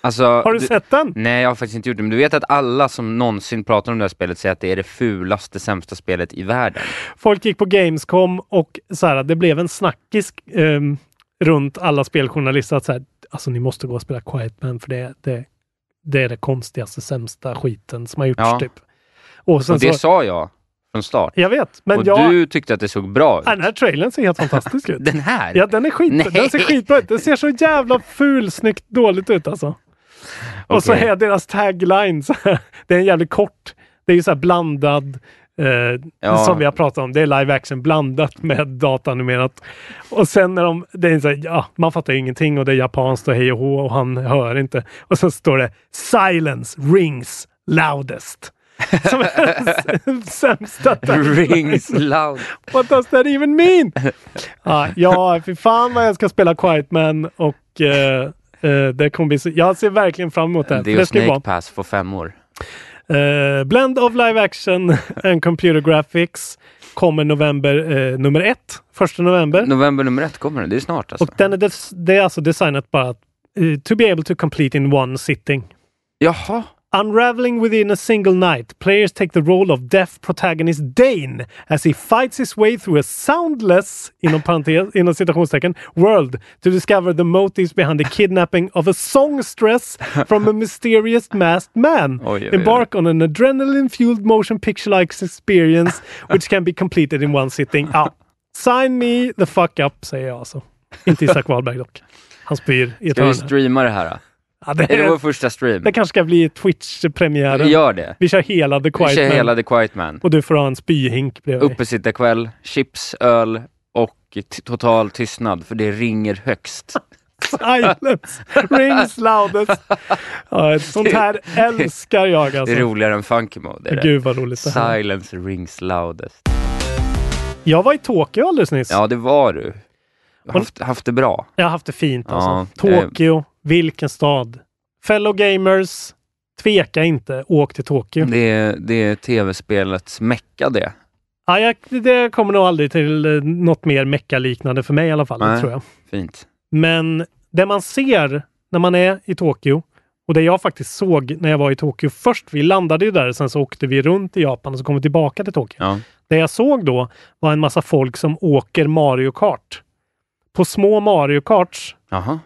S6: alltså,
S5: Har du sett den?
S6: Nej, jag har faktiskt inte gjort det. Men du vet att alla som någonsin pratar om det här spelet säger att det är det fulaste, sämsta spelet i världen.
S5: Folk gick på Gamescom och så här, det blev en snackis ehm, runt alla speljournalister att så här, alltså ni måste gå och spela Quiet Man för det, det, det är det konstigaste, sämsta skiten som har gjorts
S6: Ja.
S5: typ. Och sen
S6: Och det
S5: så,
S6: sa jag från start.
S5: jag vet, men
S6: och
S5: jag,
S6: du tyckte att det såg bra ut.
S5: den här trailern ser helt fantastisk ut.
S6: Den här?
S5: Ja, den är skit,
S6: Nej.
S5: den ser skitbra ut. Den ser så jävla fulsnyggt dåligt ut alltså. Och så
S6: Okej.
S5: är deras tagline, så här, det är en jävligt kort, det är ju så här blandad, eh,
S6: Ja.
S5: som vi har pratat om, det är live action blandat med datanimerat. Och sen när de, det är så här, ja, man fattar ju ingenting och det är japanskt och hej och hå och han hör inte. Och så står det “Silence rings loudest”. Som är den sämsta tagline.
S6: Rings loud.
S5: What does that even mean? Ja, ja, fy fan vad jag ska spela Quiet Man och eh, eh, det kommer bli så, jag ser verkligen fram emot det. här,
S6: Det
S5: för
S6: är ju
S5: ska ju
S6: Snake
S5: vara-
S6: Pass för fem år.
S5: Eh, blend of live action and computer graphics kommer november eh, nummer ett, första november.
S6: November nummer ett kommer den, det är snart alltså.
S5: Och den är, des- det är alltså designat bara att eh, to be able to complete in one sitting.
S6: Jaha,
S5: Unraveling within a single night, players take the role of deaf protagonist Dane as he fights his way through a soundless, inom, parentes, inom citationstecken, world to discover the motives behind the kidnapping of a songstress from a mysterious masked man.
S6: Oj, oj, oj.
S5: Embark on an adrenaline-fueled motion picture-like experience which can be completed in one sitting. Ja, sign me the fuck up, säger jag alltså. Inte Isak Wahlberg dock. Han spyr i ett
S6: Ska vi
S5: hörn.
S6: streama det här då?
S5: Ja, det,
S6: Är det vår
S5: är,
S6: första stream?
S5: det kanske ska bli Twitch-premiären.
S6: Gör det.
S5: Vi kör hela The
S6: Vi
S5: Quiet
S6: kör
S5: Man.
S6: hela The Quiet Man.
S5: Och du får ha en spyhink bredvid dig.
S6: Uppesittarkväll, chips, öl och t- total tystnad, för det ringer högst.
S5: Silence rings loudest. Ja, ett sånt här älskar jag
S6: Det är
S5: alltså.
S6: roligare än funky mode. Är det?
S5: Gud vad roligt det här.
S6: Silence rings loudest.
S5: Jag var i Tokyo alldeles nyss.
S6: Ja, det var du. Haft, haft det bra.
S5: Jag har haft det fint alltså.
S6: Ja, eh.
S5: Tokyo, vilken stad. Fellow gamers, tveka inte. Åk till Tokyo.
S6: Det är, det är tv-spelets mecka det.
S5: Ja, jag, det kommer nog aldrig till eh, något mer mecka-liknande för mig i alla fall, det
S6: Nej.
S5: tror jag.
S6: Fint.
S5: Men det man ser när man är i Tokyo och det jag faktiskt såg när jag var i Tokyo först, vi landade ju där, sen så åkte vi runt i Japan och så kom vi tillbaka till Tokyo.
S6: Ja.
S5: Det jag såg då var en massa folk som åker Mario Kart. På små Mario Karts
S6: Jaha,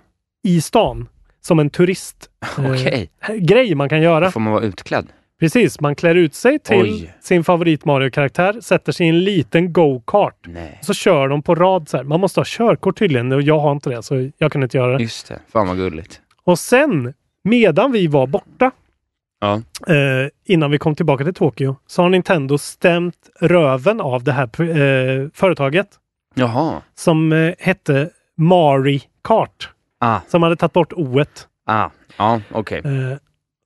S5: i stan. Som en turist eh,
S6: okej.
S5: grej man kan göra.
S6: Då får man vara utklädd.
S5: Precis, man klär ut sig till
S6: Oj.
S5: sin favorit Mario-karaktär, sätter sig i en liten go-kart.
S6: Nej.
S5: Så kör de på rad så här. Man måste ha körkort tydligen och jag har inte det så jag kunde inte göra det.
S6: Just det. Fan vad gulligt.
S5: Och sen, medan vi var borta,
S6: Ja.
S5: eh, innan vi kom tillbaka till Tokyo, så har Nintendo stämt röven av det här eh, företaget
S6: Jaha.
S5: som eh, hette Mari Kart,
S6: Ah,
S5: som hade tagit bort O-et.
S6: ah. Ja, okej.
S5: Eh,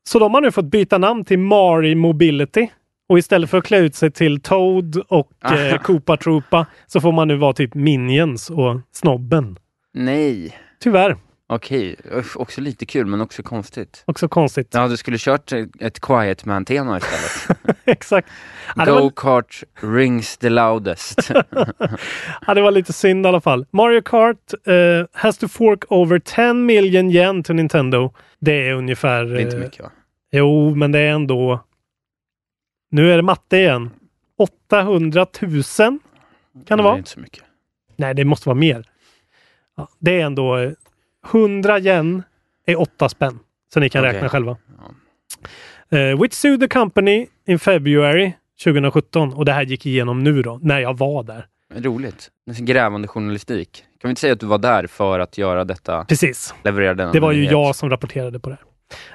S5: så de har nu fått byta namn till Mari Mobility. Och istället för att klä ut sig till Toad och
S6: Ah,
S5: eh, Koopa Troopa så får man nu vara typ Minions och Snobben.
S6: Nej.
S5: Tyvärr,
S6: Okej. Uff, Också lite kul, men också konstigt.
S5: också konstigt.
S6: Ja, du skulle kört ett Quiet Man-tema istället.
S5: Exakt. Ja, det, var,
S6: Go-kart rings the loudest.
S5: ja, det var lite synd i alla fall. Mario Kart eh, has to fork over 10 million yen till Nintendo. Det är ungefär...
S6: Det är inte
S5: eh,
S6: mycket va?
S5: Jo, men det är ändå... Nu är det matte igen. 800 000 kan det
S6: är
S5: vara.
S6: inte så mycket.
S5: Nej, det måste vara mer. Ja, det är ändå... eh, 100 yen är 8 spänn. Så ni kan
S6: Okej.
S5: räkna själva. Eh, which sued the company in February 2017. Och det här gick igenom nu då, när jag var där.
S6: Men Roligt. Nästan grävande journalistik. Kan vi inte säga att du var där för att göra detta,
S5: Precis.
S6: leverera denna
S5: Det var ju
S6: nyhet?
S5: jag som rapporterade på det. här.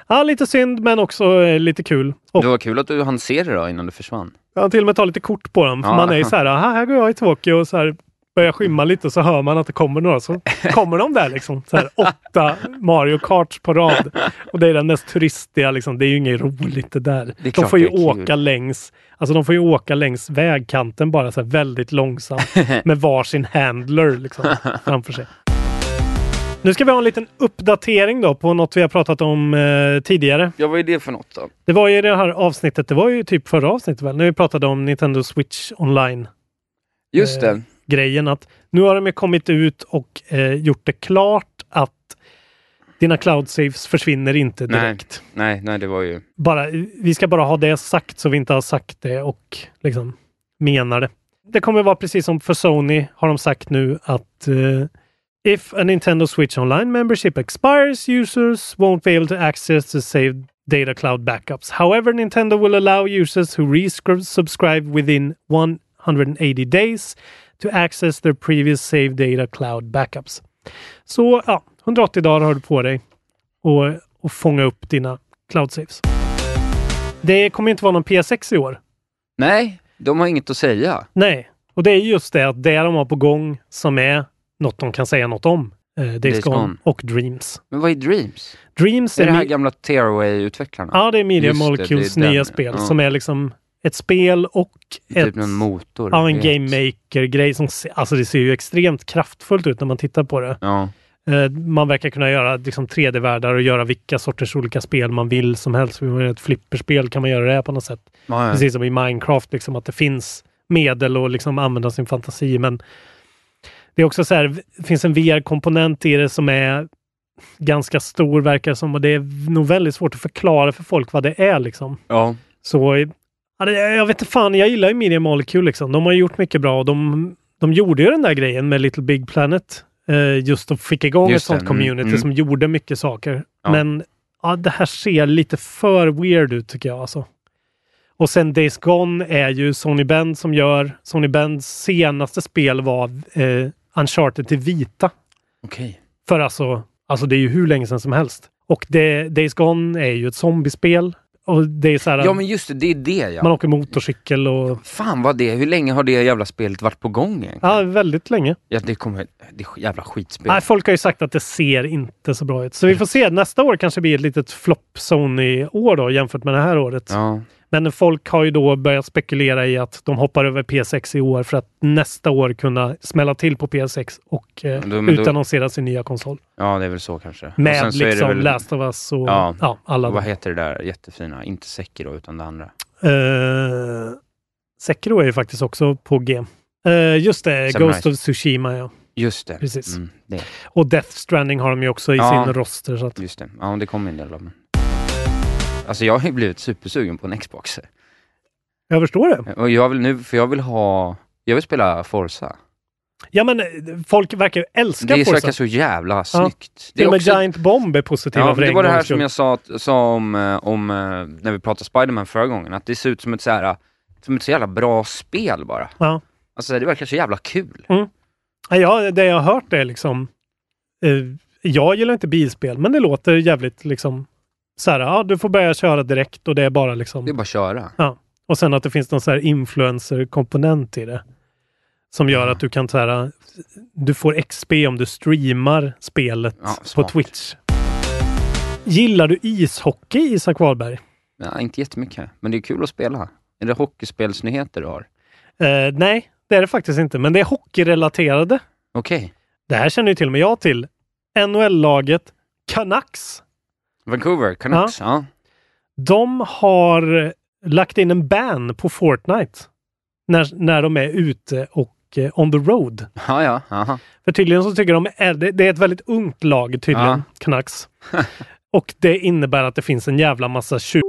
S5: Ja, lite synd, men också eh, lite kul. Och
S6: Det var kul att du hann se det då innan du försvann.
S5: Jag har till och med tagit lite kort på dem. För
S6: Ja.
S5: man är ju så här, "Aha, här går jag i Tokyo och så här börjar skymma lite och så hör man att det kommer några. Så kommer de där liksom. Så här, åtta Mario Karts på rad. Och det är den mest turistiga liksom. Det är ju inget roligt det där.
S6: Det är
S5: de
S6: klart
S5: får ju
S6: det är kul.
S5: åka längs, alltså de får ju åka längs vägkanten bara så här väldigt långsamt. med varsin handler liksom framför sig. Nu ska vi ha en liten uppdatering då på något vi har pratat om eh, tidigare.
S6: Ja, vad är det för något då?
S5: Det var ju det här avsnittet, det var ju typ förra avsnittet väl, när vi pratade om Nintendo Switch online-grejen.
S6: Just
S5: Eh.
S6: det.
S5: att Nu har de ju kommit ut och eh, gjort det klart att dina cloud saves försvinner inte
S6: Nej.
S5: direkt.
S6: Nej, nej, det var ju...
S5: Bara, vi ska bara ha det sagt så vi inte har sagt det och liksom menar det. Det kommer vara precis som för Sony har de sagt nu att eh, If a Nintendo Switch Online membership expires, users won't be able to access the saved data cloud backups. However, Nintendo will allow users who resubscribe within 180 days to access their previous saved data cloud backups. Så ja, 180 dagar har du på dig och, och fånga upp dina cloud saves. Det kommer inte vara någon PS6 i år.
S6: Nej, de har inget att säga.
S5: Nej, och det är just det att det de har på gång som är något de kan säga något om. Eh, Days,
S6: Days
S5: Gone,
S6: Gone.
S5: och Dreams.
S6: Men vad är Dreams?
S5: Dreams
S6: Det är det
S5: är,
S6: här
S5: mi-
S6: gamla Tearaway-utvecklarna?
S5: ja, det är Media
S6: Just det, det är
S5: Molecules
S6: den,
S5: nya
S6: ja.
S5: spel
S6: Ja.
S5: som är liksom ett spel och ett,
S6: Typ någon motor?
S5: ja, en
S6: vet.
S5: game maker-grej. Som, se- alltså det ser ju extremt kraftfullt ut när man tittar på det.
S6: Ja,
S5: Eh, Man verkar kunna göra liksom 3D-världar och göra vilka sorters olika spel man vill som helst. Vill man göra ett flipperspel kan man göra det här på något sätt.
S6: ja, ja.
S5: Precis som i Minecraft, liksom, att det finns medel att liksom använda sin fantasi. Men det är också så här, det finns en VR-komponent i det som är ganska stor verkar det som och det är nog väldigt svårt att förklara för folk vad det är liksom.
S6: Ja.
S5: Så eh, ja, det- jag vet inte fan, jag gillar ju Media Molecule liksom. De har gjort mycket bra och de, de gjorde ju den där grejen med Little Big Planet. Eh, just att fick igång
S6: Just
S5: ett
S6: det,
S5: sånt
S6: mm,
S5: community
S6: mm.
S5: som gjorde mycket saker.
S6: Ja.
S5: Men ja, det här ser lite för weird ut tycker jag alltså. Och sen Days Gone är ju Sony Bend som gör. Sony Bends senaste spel var eh, Uncharted till vita.
S6: Okej.
S5: För alltså, alltså det är ju hur länge sedan som helst. Och det, Days Gone är ju ett zombiespel. Och det är så här,
S6: Ja men just det, det är det ja.
S5: man åker motorcykel och...
S6: Fan vad det, hur länge har det jävla spelet varit på gång egentligen?
S5: Ja, väldigt länge.
S6: Ja, det kommer, det är jävla skitspel.
S5: Nej, folk har ju sagt att det ser inte så bra ut. Så vi får se. Nästa år kanske blir ett litet flopp-Sony-år då jämfört med det här året.
S6: Ja.
S5: Men folk har ju då börjat spekulera i att de hoppar över PS6 i år för att nästa år kunna smälla till på PS6 och eh,
S6: Men då- men då-
S5: utannonsera sin nya konsol.
S6: ja, det är väl så kanske. Och
S5: Med
S6: sen så är det
S5: liksom
S6: väl-
S5: Last of Us och ja.
S6: Ja.
S5: alla.
S6: Vad heter det där jättefina? Inte Sekiro utan det andra.
S5: Eh, Sekiro är ju faktiskt också på G. Eh, just det,
S6: Samurai.
S5: Ghost of Tsushima ja.
S6: Just det.
S5: Precis.
S6: Mm, det.
S5: Och Death Stranding har de ju också i
S6: Ja.
S5: sin roster. Så att,
S6: Just det. Ja, det kommer en del av dem. Alltså jag har ju blivit supersugen på en Xbox.
S5: jag förstår det.
S6: Och jag vill nu, för jag vill ha, jag vill spela Forza.
S5: Ja men eh, folk verkar ju älska
S6: Det
S5: Forza.
S6: verkar så jävla snyggt.
S5: Till
S6: är
S5: och med
S6: också-
S5: Giant Bomb är positiva
S6: Ja,
S5: för
S6: men det var det
S5: en
S6: här
S5: gångs
S6: som
S5: skull.
S6: jag sa, sa om, eh, om eh, när vi pratade Spider-Man förra gången, att det ser ut som ett så här, som ett så jävla bra spel bara.
S5: Ja.
S6: Alltså det verkar så jävla kul.
S5: Nej, Ja, det jag har hört är liksom... Eh, jag gillar inte bilspel, men det låter jävligt liksom... Så här, ja, du får börja köra direkt och det är bara liksom...
S6: Det är bara att köra.
S5: Och sen att det finns någon så här influencer-komponent i det. Som gör att du kan så här, du får XP om du streamar spelet
S6: Ja,
S5: på
S6: smart.
S5: Twitch. Gillar du ishockey, Isak Wahlberg?
S6: Ja, inte jättemycket, men det är kul att spela. Är det hockeyspelsnyheter du har?
S5: Eh, nej, det är det faktiskt inte, men det är hockeyrelaterade.
S6: Okej.
S5: Det här känner ju till och med jag till. NHL-laget Canucks.
S6: Vancouver, Canucks, ja.
S5: De har lagt in en ban på Fortnite när, när de är ute och eh, on the road.
S6: Ja, ja, aha.
S5: För tydligen så tycker de, är- det det är ett väldigt ungt lag tydligen,
S6: Ja.
S5: Canucks. Och det innebär att det finns en jävla massa tju-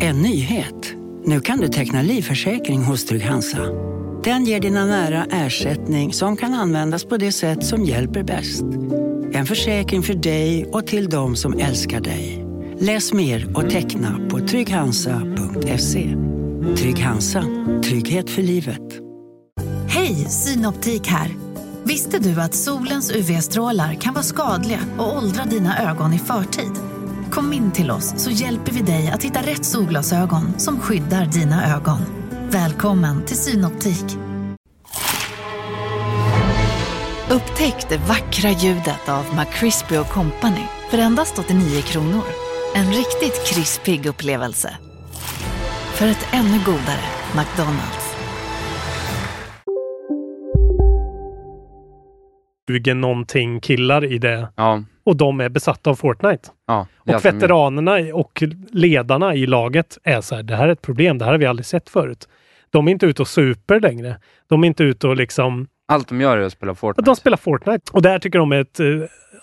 S3: En nyhet. Nu kan du teckna livförsäkring hos Trygg-Hansa. Den ger dina nära ersättning som kan användas på det sätt som hjälper bäst. En försäkring för dig och till de som älskar dig. Läs mer och teckna på trygghansa.se. Trygg Hansa. Trygghet för livet.
S7: Hej, Synoptik här. Visste du att solens UV-strålar kan vara skadliga och åldra dina ögon i förtid? Kom in till oss så hjälper vi dig att hitta rätt solglasögon som skyddar dina ögon. Välkommen till Synoptik. Upptäck det vackra ljudet av McCrispy Company för endast 89 kronor. En riktigt krispig upplevelse. För ett ännu godare McDonalds.
S5: någonting killar i det.
S6: Ja,
S5: Och de är besatta av Fortnite.
S6: ja. det är
S5: Och
S6: allt som-
S5: veteranerna i- och ledarna i laget är så här, det här är ett problem, det här har vi aldrig sett förut. De är inte ute och super längre. De är inte ute och liksom,
S6: Allt de gör är att spela
S5: Ja,
S6: Fortnite.
S5: de spelar Fortnite. Och det här tycker de är ett, eh,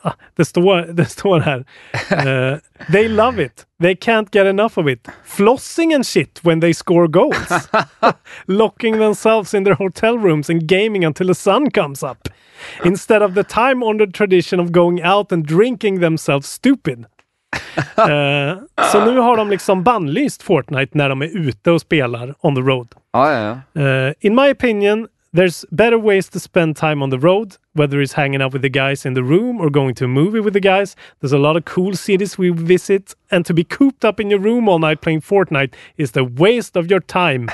S5: ah, det, står, det står här, eh, they love it, they can't get enough of it. Flossing and shit when they score goals. Locking themselves in their hotel rooms and gaming until the sun comes up. Instead of the time honored tradition of going out and drinking themselves stupid. Eh, så nu har de liksom bannlyst Fortnite när de är ute och spelar on the road.
S6: Ja, ja, ja.
S5: Uh, in my opinion, there's better ways to spend time on the road, whether it's hanging out with the guys in the room or going to a movie with the guys. There's a lot of cool cities we visit, and to be cooped up in your room all night playing Fortnite is the waste of your time.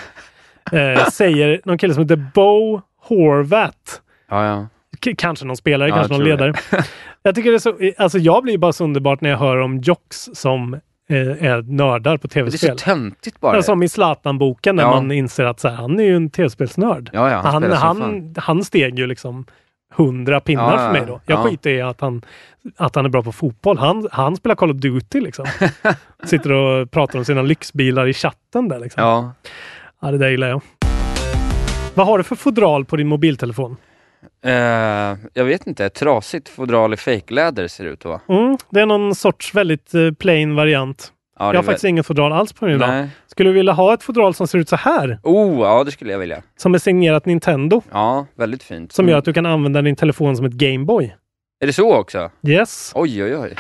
S5: Eh, säger någon kille som heter Bo Horvat.
S6: ja, ja.
S5: K- kanske någon spelare,
S6: Ja,
S5: kanske
S6: jag
S5: någon
S6: tror
S5: ledare. jag tycker det är så, alltså jag blir bara så underbart när jag hör om jocks som eh, är nördar på
S6: Det är så
S5: tv-spel.
S6: töntigt bara.
S5: Ja, som i Zlatan-boken när
S6: Ja.
S5: man inser att så här, han är ju en tv-spelsnörd.
S6: Ja, ja, han
S5: han,
S6: spelar som
S5: han, han steg ju liksom hundra pinnar
S6: Ja, ja,
S5: för mig då. Jag
S6: ja.
S5: skiter i att han, att han är bra på fotboll. Han, han spelar Call of Duty liksom. Sitter och pratar om sina lyxbilar i chatten där liksom. Ja,
S6: Ja.
S5: det där gillar jag. Vad har du för fodral på din mobiltelefon?
S6: Eh, jag vet inte, trasigt fodral i fejkläder ser det ut att vara.
S5: Mm, det är någon sorts väldigt eh, plain variant.
S6: Ja,
S5: jag
S6: det är
S5: har faktiskt
S6: väl-
S5: inget fodral alls på min idag.
S6: Nej.
S5: Skulle du vilja ha ett fodral som ser ut så här?
S6: Oh, ja det skulle jag vilja.
S5: Som är signerat Nintendo.
S6: Ja, väldigt fint. Mm.
S5: Som gör att du kan använda din telefon som ett Gameboy.
S6: Är det så också?
S5: Yes.
S6: Oj, oj, oj.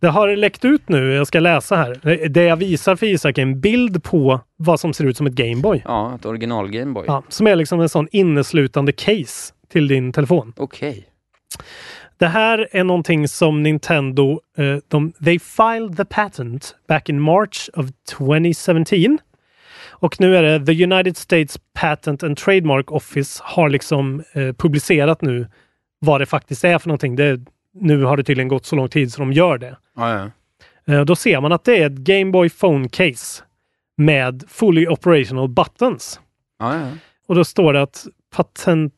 S5: Det har läckt ut nu, jag ska läsa här. Det- Det jag visar för Isak är en bild på vad som ser ut som ett Gameboy.
S6: Ja, ett original Gameboy.
S5: Ja, som är liksom en sån inneslutande case till din telefon.
S6: Okej.
S5: Det här är någonting som Nintendo, eh, de, they filed the patent back in March of 2017. Och nu är det the United States Patent and Trademark Office har liksom eh, publicerat nu vad det faktiskt är för någonting. Det, nu har det tydligen gått så lång tid så de gör det.
S6: Ja, ja.
S5: Eh, Då ser man att det är ett Game Boy Phone Case med fully operational buttons.
S6: Ja, ja.
S5: Och då står det att patentet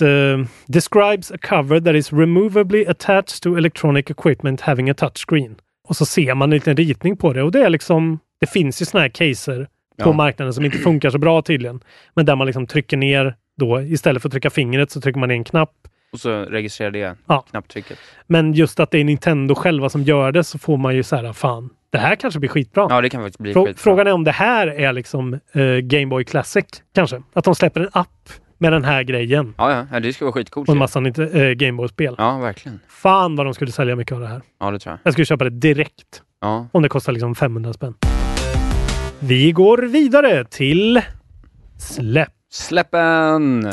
S5: eh, describes a cover that is removably attached to electronic equipment having a touchscreen. Och så ser man en liten ritning på det och det är liksom, det finns ju såna här caser på
S6: Ja.
S5: marknaden som inte funkar så bra tydligen. Men där man liksom trycker ner då, istället för att trycka fingret så trycker man ner en knapp
S6: Och så registrerar det
S5: Ja.
S6: knapptrycket.
S5: Men just att det är Nintendo själva som gör det så får man ju så här, fan, det här kanske blir skitbra.
S6: Ja, det kan faktiskt bli
S5: Frå-
S6: skitbra.
S5: Frågan är om det här är liksom eh, Game Boy Classic, kanske. Att de släpper en app med den här grejen
S6: Ja, ja. ja, det skulle vara skitcoolt.
S5: och en
S6: ju.
S5: massa Nint- eh, Game Boy-spel.
S6: Ja, verkligen.
S5: Fan vad de skulle sälja mycket av det här.
S6: Ja, det tror jag.
S5: Jag skulle köpa det direkt
S6: Ja.
S5: om det kostar liksom 500 spänn. Vi går vidare till släpp.
S6: Släppen!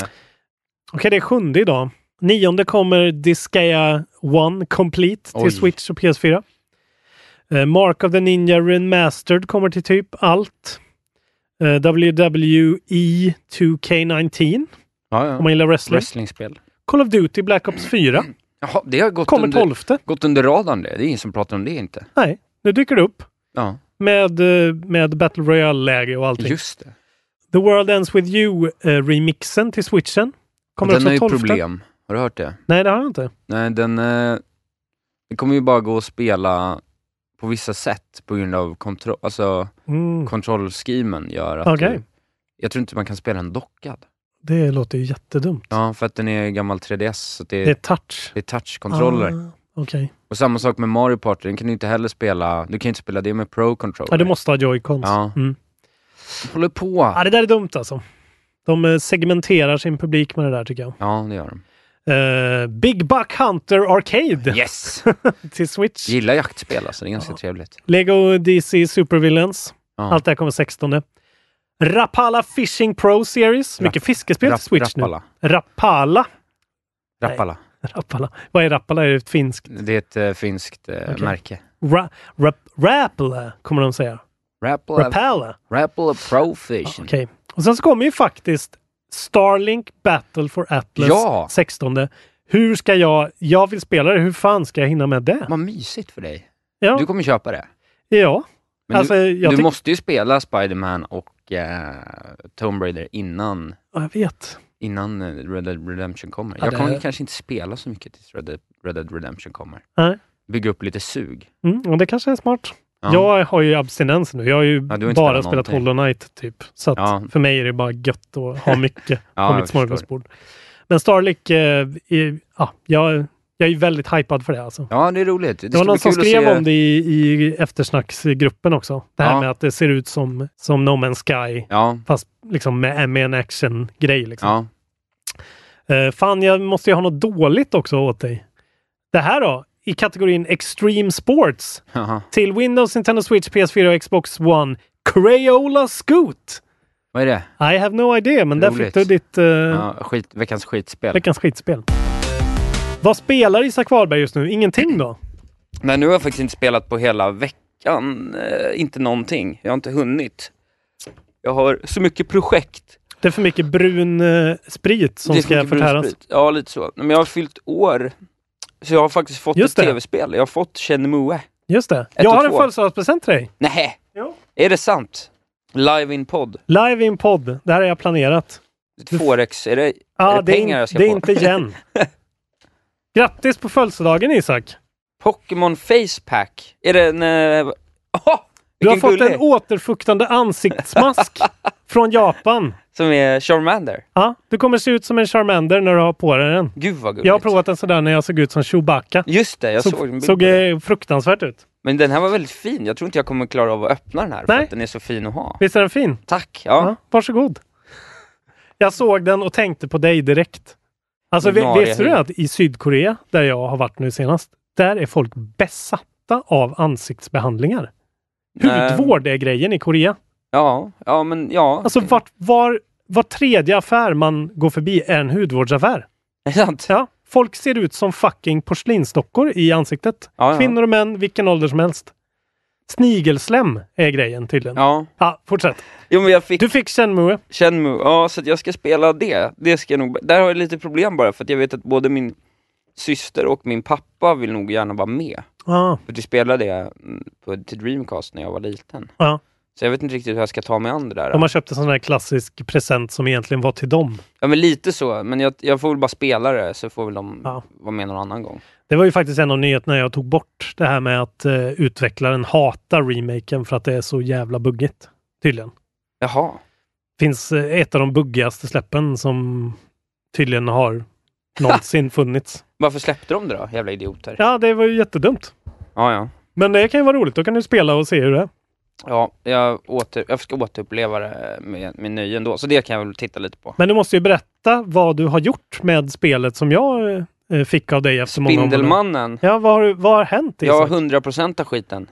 S5: Okej, det är sjunde idag. Nionde kommer Disgaea 1 Complete till
S6: Oj.
S5: Switch och PS4. Eh, Mark of the Ninja Remastered kommer till typ allt. Eh, E WWE 2K19
S6: Ja, ja.
S5: om man gillar wrestling.
S6: Wrestlingspel.
S5: Call of Duty Black Ops 4
S6: Mm. Jaha, det har gått
S5: kommer
S6: under,
S5: 12.
S6: gått under radarn det. Det är ingen som pratar om det inte.
S5: Nej, nu dyker det upp
S6: Ja,
S5: med, eh, med Battle Royale-läge och allting.
S6: just det.
S5: The World Ends With You-remixen till switchen kommer
S6: den har
S5: också
S6: ju
S5: 12.
S6: problem. Har du hört det?
S5: Nej, det har jag inte.
S6: Nej, den, eh, den kommer ju bara gå att spela på vissa sätt på grund av kontroll, alltså
S5: Mm.
S6: kontrollschemen gör att
S5: Okej.
S6: du, Jag tror inte man kan spela den dockad.
S5: Det låter ju jättedumt.
S6: Ja, för att den är gammal 3DS, så det,
S5: Det är touch.
S6: det är touchkontroller.
S5: Ah, Okej.
S6: Och samma sak med Mario Party, den kan du inte heller spela, du kan inte spela det med Pro Controller.
S5: Ja, du måste ha joycons.
S6: Ja.
S5: Mm.
S6: Håller på!
S5: Ja, det där är dumt alltså. De eh, segmenterar sin publik med det där tycker jag.
S6: Ja, det gör de.
S5: Eh, Big Buck Hunter Arcade
S6: Yes!
S5: till Switch.
S6: Gillar jaktspel alltså, det är ganska trevligt.
S5: Lego DC Supervillains.
S6: Ja.
S5: Allt det här kommer 16. Rapala Fishing Pro Series. Mycket fiskespel
S6: Rap-
S5: till Switch
S6: Rapala.
S5: nu. Rapala.
S6: Rappala.
S5: Rapala. Vad är Rapala? Är det ett finskt?
S6: Det är ett eh, finskt eh,
S5: Okej.
S6: märke.
S5: Ra, rap, rapala kommer de säga.
S6: Rappala,
S5: Rapala.
S6: Rappala Profish.
S5: Ah, Okej. Och sen så kommer ju faktiskt Starlink Battle for Atlas
S6: Ja!
S5: 16. Hur ska jag... Jag vill spela det. Hur fan ska jag hinna med det?
S6: Vad mysigt för dig.
S5: Ja.
S6: Du kommer köpa det.
S5: ja.
S6: Men
S5: Alltså,
S6: du,
S5: jag
S6: du
S5: tyck-
S6: måste ju spela Spider-Man och eh, Tomb Raider innan,
S5: Ja, Jag vet.
S6: innan eh, Red Dead Redemption kommer.
S5: Ja,
S6: jag
S5: det-
S6: kommer kanske inte spela så mycket tills Red Dead, Red Dead Redemption kommer.
S5: Nej.
S6: Bygga upp lite sug.
S5: Mm, och det kanske är smart.
S6: Ja.
S5: Jag har ju abstinens nu. Jag har ju
S6: Ja, du har inte
S5: bara
S6: spelat
S5: spelat
S6: någonting.
S5: Hollow Knight typ. Så att
S6: Ja.
S5: för mig är det bara gött att ha mycket
S6: Ja,
S5: på
S6: jag
S5: mitt
S6: förstår.
S5: smörgåsbord. Men Starlink, eh, är, ja, jag, jag är ju väldigt hypad för det alltså.
S6: Ja, det är roligt. Det,
S5: Det
S6: ska
S5: var
S6: bli
S5: någon som
S6: kul att
S5: skrev
S6: se...
S5: om det i, i eftersnacksgruppen också. Det här
S6: Ja.
S5: med att det ser ut som, som No Man's Sky,
S6: Ja,
S5: fast liksom med, med en action-grej. Liksom.
S6: ja.
S5: Eh, fan, jag måste ju ha något dåligt också åt dig. Det här då, i kategorin Extreme Sports,
S6: Haha.
S5: till Windows, Nintendo Switch, PS4 och Xbox One, Crayola Scoot!
S6: Vad är det?
S5: I have no idea, men där fick
S6: Roligt.
S5: du ditt eh,
S6: Ja, skit, veckans skitspel.
S5: veckans skitspel. Vad spelar Isak Wahlberg just nu? Ingenting då?
S6: Nej, nu har jag faktiskt inte spelat på hela veckan. Eh, inte någonting. Jag har inte hunnit. Jag har så mycket projekt.
S5: Det är för mycket brun eh, sprit som
S6: Det är så
S5: ska
S6: mycket
S5: förtäras.
S6: brunsprit. Ja, lite så. Men jag har fyllt år. Så jag har faktiskt fått
S5: Just
S6: ett
S5: det.
S6: tv-spel. Jag har fått Shenmue.
S5: Just det.
S6: Ett
S5: jag
S6: och
S5: har en
S6: två.
S5: födelsedagspresent till dig.
S6: Nej,
S5: Jo.
S6: Är det sant? Live in podd.
S5: Live i en podd. Det här har jag planerat.
S6: Forex. Är det,
S5: Ja,
S6: är det, pengar
S5: är,
S6: jag
S5: in,
S6: ska
S5: det är
S6: få?
S5: inte igen. Grattis på födelsedagen Isak!
S6: Pokémon Facepack. Är det en... eh, Åh!
S5: Du har
S6: vilken
S5: fått
S6: gullig.
S5: en återfuktande ansiktsmask från Japan.
S6: Som är Charmander.
S5: Ja, du kommer se ut som en Charmander när du har på dig den.
S6: Gud vad gulligt.
S5: Jag har provat en sådär när jag såg ut som Chewbacca.
S6: Just det, jag såg en bild
S5: Såg
S6: på
S5: eh, fruktansvärt ut.
S6: Men den här var väldigt fin. Jag tror inte jag kommer klara av att öppna den här för
S5: Nej.
S6: att den är så fin att ha.
S5: Visst är den fin?
S6: Tack. Ja.
S5: varsågod. Jag såg den och tänkte på dig direkt. Alltså, ve-
S6: Ordinarie
S5: visste du
S6: hy.
S5: att i Sydkorea, där jag har varit nu senast, där är folk besatta av ansiktsbehandlingar.
S6: Nej.
S5: Hudvård är grejen i Korea.
S6: Eh, Ja, ja men ja.
S5: Alltså vart, var, var tredje affär man går förbi är en hudvårdsaffär.
S6: Är sant?
S5: Ja. Folk ser ut som fucking porslinsdockor i ansiktet.
S6: Ja, ja.
S5: Kvinnor och män, vilken ålder som helst. Snigelslem är grejen tydligen.
S6: Ja.
S5: ja fortsätt.
S6: Jo, men jag fick...
S5: Du fick Shenmue.
S6: Shenmue, ja så att jag ska spela det. det ska jag nog... Där har jag lite problem bara för att jag vet att både min syster och min pappa vill nog gärna vara med.
S5: Ja.
S6: För att vi spelade det mm, på, till Dreamcast när jag var liten.
S5: Ja.
S6: Så jag vet inte riktigt hur jag ska ta mig an det där.
S5: De har köpt en sån här klassisk present som egentligen var till dem.
S6: Ja men lite så, men jag, jag får väl bara spela det så får väl de vara med någon annan gång.
S5: Det var ju faktiskt en av nyheterna jag tog bort. Det här med att eh, utvecklaren hatar remaken för att det är så jävla buggigt. Tydligen.
S6: Jaha.
S5: Finns eh, ett av de buggigaste släppen som tydligen har någonsin funnits.
S6: Varför släppte de det då? Jävla idioter.
S5: Ja, det var ju jättedumt.
S6: Ja, ja.
S5: Men det kan ju vara roligt. Då kan du spela och se hur det är.
S6: Ja, jag, åter, jag ska återuppleva det med, med nöje ändå, så det kan jag väl titta lite på.
S5: Men du måste ju berätta vad du har gjort med spelet som jag eh, fick av dig efter många om och men.
S6: Spindelmannen.
S5: Ja, vad har, vad har hänt
S6: Jag har
S5: Isak?
S6: 100% av skiten.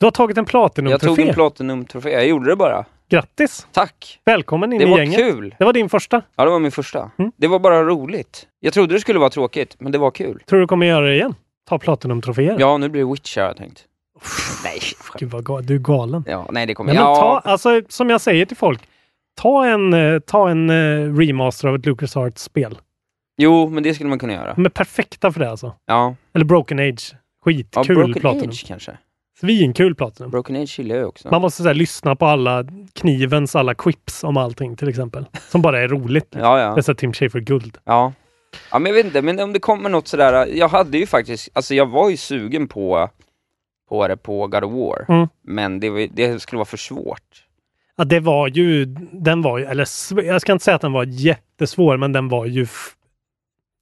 S5: Du har tagit en
S6: Jag
S5: Platinum-trofé.
S6: tog en Platinum-trofé, jag gjorde det bara.
S5: Grattis!
S6: Tack!
S5: Välkommen in
S6: Det
S5: i
S6: var
S5: gänget. Mm.
S6: kul.
S5: Det var din första.
S6: Ja, det var min första. Det var bara roligt. Jag trodde det skulle vara tråkigt, men det var kul.
S5: Tror du kommer göra det igen? Ta Platinum-troféer?
S6: Ja, nu blir det Witcher har jag tänkt. Nej,
S5: Gud vad gal, du är galen.
S6: ja, nej det kommer...
S5: Nej, men ta,
S6: ja,
S5: alltså, som jag säger till folk, ta en, eh, ta en eh, remaster av ett Lucas Arts-spel.
S6: jo, men det skulle man kunna göra.
S5: De är perfekta för det alltså.
S6: Ja,
S5: Eller Broken Age.
S6: ja
S5: Skitkul
S6: Broken
S5: Platinum.
S6: Age kanske.
S5: Svinkul Platinum.
S6: Broken Age gillar jag också.
S5: Man måste så här, lyssna på alla knivens alla quips om allting till exempel. Som bara är roligt.
S6: Ja, ja.
S5: Det är så här Tim Schafer-guld.
S6: Ja. Ja men jag vet inte, men om det kommer något sådär, jag hade ju faktiskt, alltså jag var ju sugen på, på det på God of War,
S5: Mm.
S6: men det, var- det skulle vara för svårt.
S5: Ja, det var ju, den var ju, eller sv- jag ska inte säga att den var jättesvår, men den var ju, f-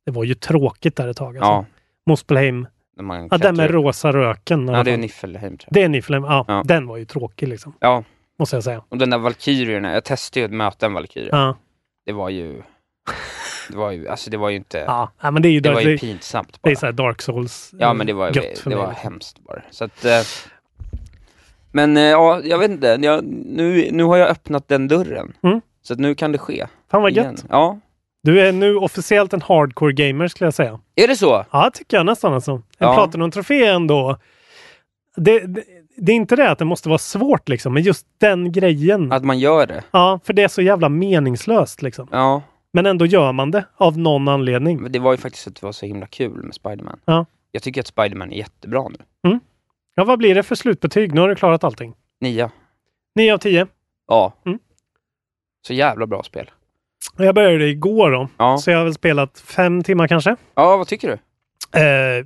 S5: det var ju tråkigt där ett tag. Alltså.
S6: Ja.
S5: Mospelheim.
S6: När man
S5: Ja, den med
S6: klättrar upp.
S5: rosa röken.
S6: Ja,
S5: i alla
S6: det är
S5: fall.
S6: Niffelheim tror jag.
S5: Det är Niflheim, ja,
S6: Ja.
S5: Den var ju tråkig liksom,
S6: Ja,
S5: måste jag säga.
S6: och den där Valkyrierna, jag testade ju att möta en Valkyrie.
S5: Ja.
S6: Det var ju, det var ju, alltså det var ju inte,
S5: Ja, ja, men det är ju
S6: det var
S5: därför
S6: ju pinsamt
S5: Det
S6: bara.
S5: är så här Dark Souls. eh,
S6: Ja men det var,
S5: gött för
S6: det
S5: mig.
S6: var hemskt bara. Så att, eh, men eh, ja, jag vet inte, jag, nu, nu har jag öppnat den dörren.
S5: Mm.
S6: Så att nu kan det ske.
S5: Fan vad
S6: igen.
S5: gött.
S6: Ja.
S5: Du är nu officiellt en hardcore gamer skulle jag säga.
S6: Är det så?
S5: Ja, tycker jag nästan alltså. En
S6: Ja.
S5: Platinum-trofé är ändå... Det, det, det är inte det att det måste vara svårt liksom, men just den grejen.
S6: Att man gör det?
S5: Ja, för det är så jävla meningslöst liksom.
S6: Ja.
S5: Men ändå gör man det av någon anledning.
S6: Men det var ju faktiskt att det var så himla kul med Spiderman.
S5: Ja.
S6: Jag tycker att Spiderman är jättebra nu.
S5: ja, vad blir det för slutbetyg? Nu har du klarat allting.
S6: Nia.
S5: Mm. 9 av 10.
S6: Ja.
S5: Mm.
S6: Så jävla bra spel.
S5: Och Jag började igår då,
S6: Ja.
S5: så jag har väl spelat fem timmar kanske.
S6: Ja, vad tycker du?
S5: Eh,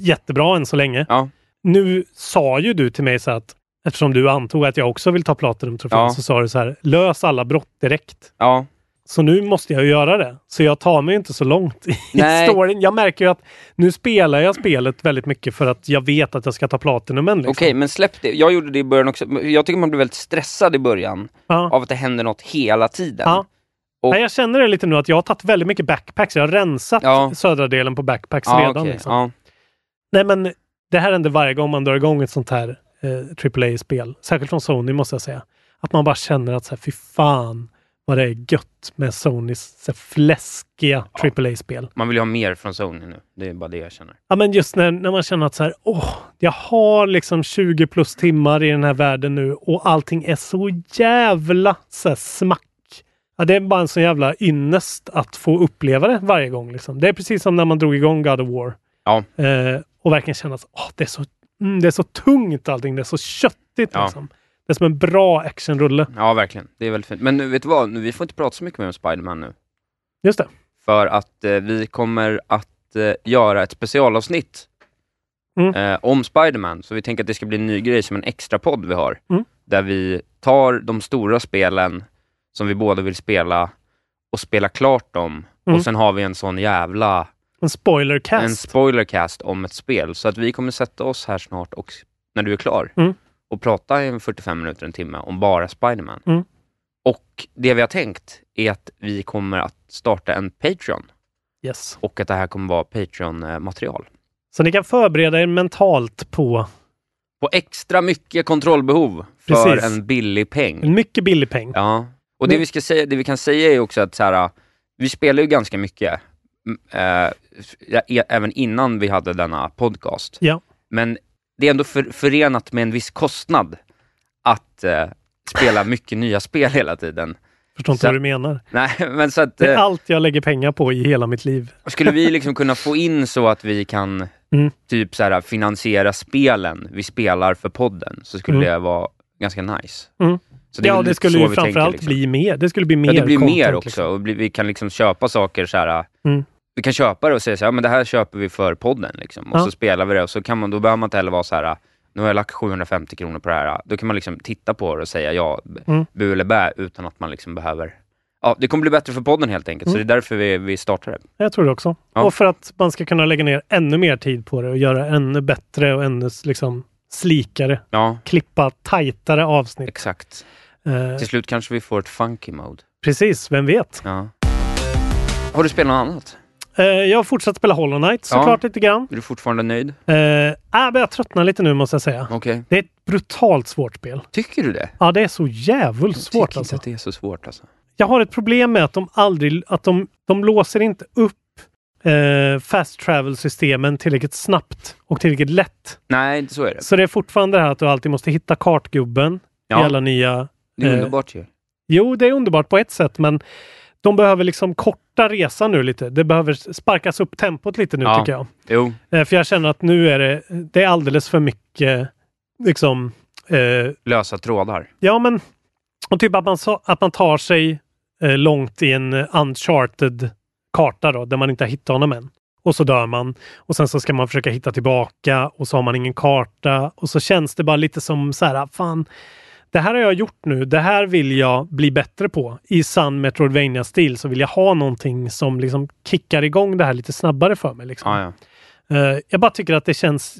S5: jättebra än så länge.
S6: Ja.
S5: Nu sa ju du till mig så att eftersom du antog att jag också vill ta Platinum-trofén
S6: Ja.
S5: så sa du så här, lös alla brott direkt.
S6: Ja.
S5: Så nu måste jag ju göra det. Så jag tar mig inte så långt i
S6: Nej.
S5: storyn. Jag märker ju att nu spelar jag spelet väldigt mycket för att jag vet att jag ska ta Platinumen. Liksom.
S6: Okej, men släpp det. Jag gjorde det i början också. Men Jag tycker man blir väldigt stressad i början
S5: Ja.
S6: av att det händer något hela tiden.
S5: Ja.
S6: Och-
S5: Nej, jag känner det lite nu att jag har tagit väldigt mycket backpacks. Jag har rensat södra delen på backpacks
S6: Ja,
S5: redan.
S6: okej.
S5: Liksom.
S6: Ja.
S5: Nej, men det här händer varje gång man drar igång ett sånt här eh, AAA-spel. Särskilt från Sony måste jag säga. Att man bara känner att så här, fy fan vad det är gött med Sonys så här, fläskiga AAA-spel.
S6: Man vill ju ha mer från Sony nu. Det är bara det jag känner.
S5: Ja, men just när, när man känner att så här, åh, jag har liksom 20 plus timmar i den här världen nu och allting är så jävla så här, smack. Ja, det är bara en så jävla ynnest att få uppleva det varje gång. Liksom. Det är precis som när man drog igång God of War.
S6: Ja.
S5: Eh, och verkligen känna att åh, det, är så, mm, det är så tungt allting. Det är så köttigt.
S6: Ja.
S5: Liksom. Det är som en bra actionrulle.
S6: Ja, verkligen. Det är väldigt fint. Men nu, vet du vad? Nu, vi får inte prata så mycket mer om Spiderman nu.
S5: Just det.
S6: För att eh, vi kommer att eh, göra ett specialavsnitt
S5: Mm.
S6: eh, om Spiderman. Så vi tänker att det ska bli en ny grej som en extra podd vi har.
S5: Mm.
S6: Där vi tar de stora spelen som vi båda vill spela och spela klart dem.
S5: Mm.
S6: Och sen har vi en sån jävla
S5: En spoilercast.
S6: en spoilercast om ett spel. Så att vi kommer sätta oss här snart och när du är klar
S5: Mm.
S6: och prata i 45 minuter, en timme om bara Spiderman.
S5: Mm.
S6: Och det vi har tänkt är att vi kommer att starta en Patreon
S5: Yes.
S6: och att det här kommer vara Patreon-material.
S5: Så ni kan förbereda er mentalt på
S6: På extra mycket kontrollbehov för
S5: Precis. Mm.
S6: en billig peng.
S5: en mycket billig peng.
S6: Ja, och det
S5: Men-
S6: vi, ska säga, det vi kan säga är också att så här, vi spelar ju ganska mycket, m- eh, ja, e- även innan vi hade denna podcast.
S5: Ja.
S6: Men det är ändå för, förenat med en viss kostnad att eh, spela mycket nya spel hela tiden.
S5: Förstår inte
S6: Så-
S5: vad du menar.
S6: Nej, men så att,
S5: Det är
S6: eh,
S5: allt jag lägger pengar på i hela mitt liv.
S6: skulle vi liksom kunna få in så att vi kan
S5: Mm.
S6: typ så här, finansiera spelen vi spelar för podden, så skulle
S5: Mm.
S6: det vara ganska nice.
S5: Mm.
S6: Så det är
S5: ja,
S6: väl
S5: det
S6: lite
S5: skulle
S6: så
S5: ju
S6: vi tänker,
S5: framförallt
S6: liksom.
S5: bli mer. Det skulle bli mer
S6: ja, det blir
S5: content,
S6: mer också.
S5: liksom.
S6: Och bli, vi kan liksom köpa saker så här.
S5: Mm.
S6: Vi kan köpa det och säga så här, ja, men det här köper vi för podden. Liksom. Och
S5: Ja.
S6: så spelar vi det och så kan man, då behöver man inte heller vara så här, nu har jag lagt 750 kronor på det här. Då kan man liksom titta på det och säga ja, b-
S5: Mm.
S6: bu eller bä, utan att man liksom behöver... Ja, det kommer bli bättre för podden helt enkelt, så
S5: Mm.
S6: det är därför vi, vi startar det.
S5: Jag tror det också.
S6: Ja.
S5: Och för att man ska kunna lägga ner ännu mer tid på det och göra ännu bättre och ännu liksom slikare.
S6: Ja,
S5: Klippa tajtare avsnitt.
S6: exakt.
S5: Eh,
S6: Till slut kanske vi får ett funky mode.
S5: precis, vem vet?
S6: Ja. Har du spelat något annat?
S5: Eh, jag har fortsatt spela Hollow Knight
S6: Ja.
S5: såklart lite grann.
S6: Är du fortfarande nöjd?
S5: Eh, jag börjar tröttna lite nu måste jag säga.
S6: Okej.
S5: Det är ett brutalt svårt spel.
S6: Tycker du det?
S5: Ja, det är så jävligt
S6: Tycker
S5: svårt
S6: inte
S5: alltså.
S6: att det är så svårt alltså.
S5: Jag har ett problem med att de aldrig, att de, de låser inte upp eh, fast travel-systemen tillräckligt snabbt och tillräckligt lätt.
S6: Nej, så är det.
S5: Så det är fortfarande det här att du alltid måste hitta kartgubben i
S6: Ja.
S5: alla nya...
S6: Det är
S5: eh,
S6: underbart ju.
S5: Jo, det är underbart på ett sätt, men de behöver liksom korta resan nu lite. Det behöver sparkas upp tempot lite nu
S6: Ja.
S5: tycker jag.
S6: Jo.
S5: Eh, för jag känner att nu är det, det är alldeles för mycket liksom... Eh,
S6: lösa trådar.
S5: ja, men... Och typ att man, sa- att man tar sig eh, långt i en eh, uncharted karta då, där man inte har hittat honom än. Och så dör man. Och sen så ska man försöka hitta tillbaka och så har man ingen karta. Och så känns det bara lite som så här, fan, det här har jag gjort nu. Det här vill jag bli bättre på. I sann metroidvania stil så vill jag ha någonting som liksom kickar igång det här lite snabbare för mig. Liksom.
S6: Ja, ja.
S5: Eh, jag bara tycker att det känns...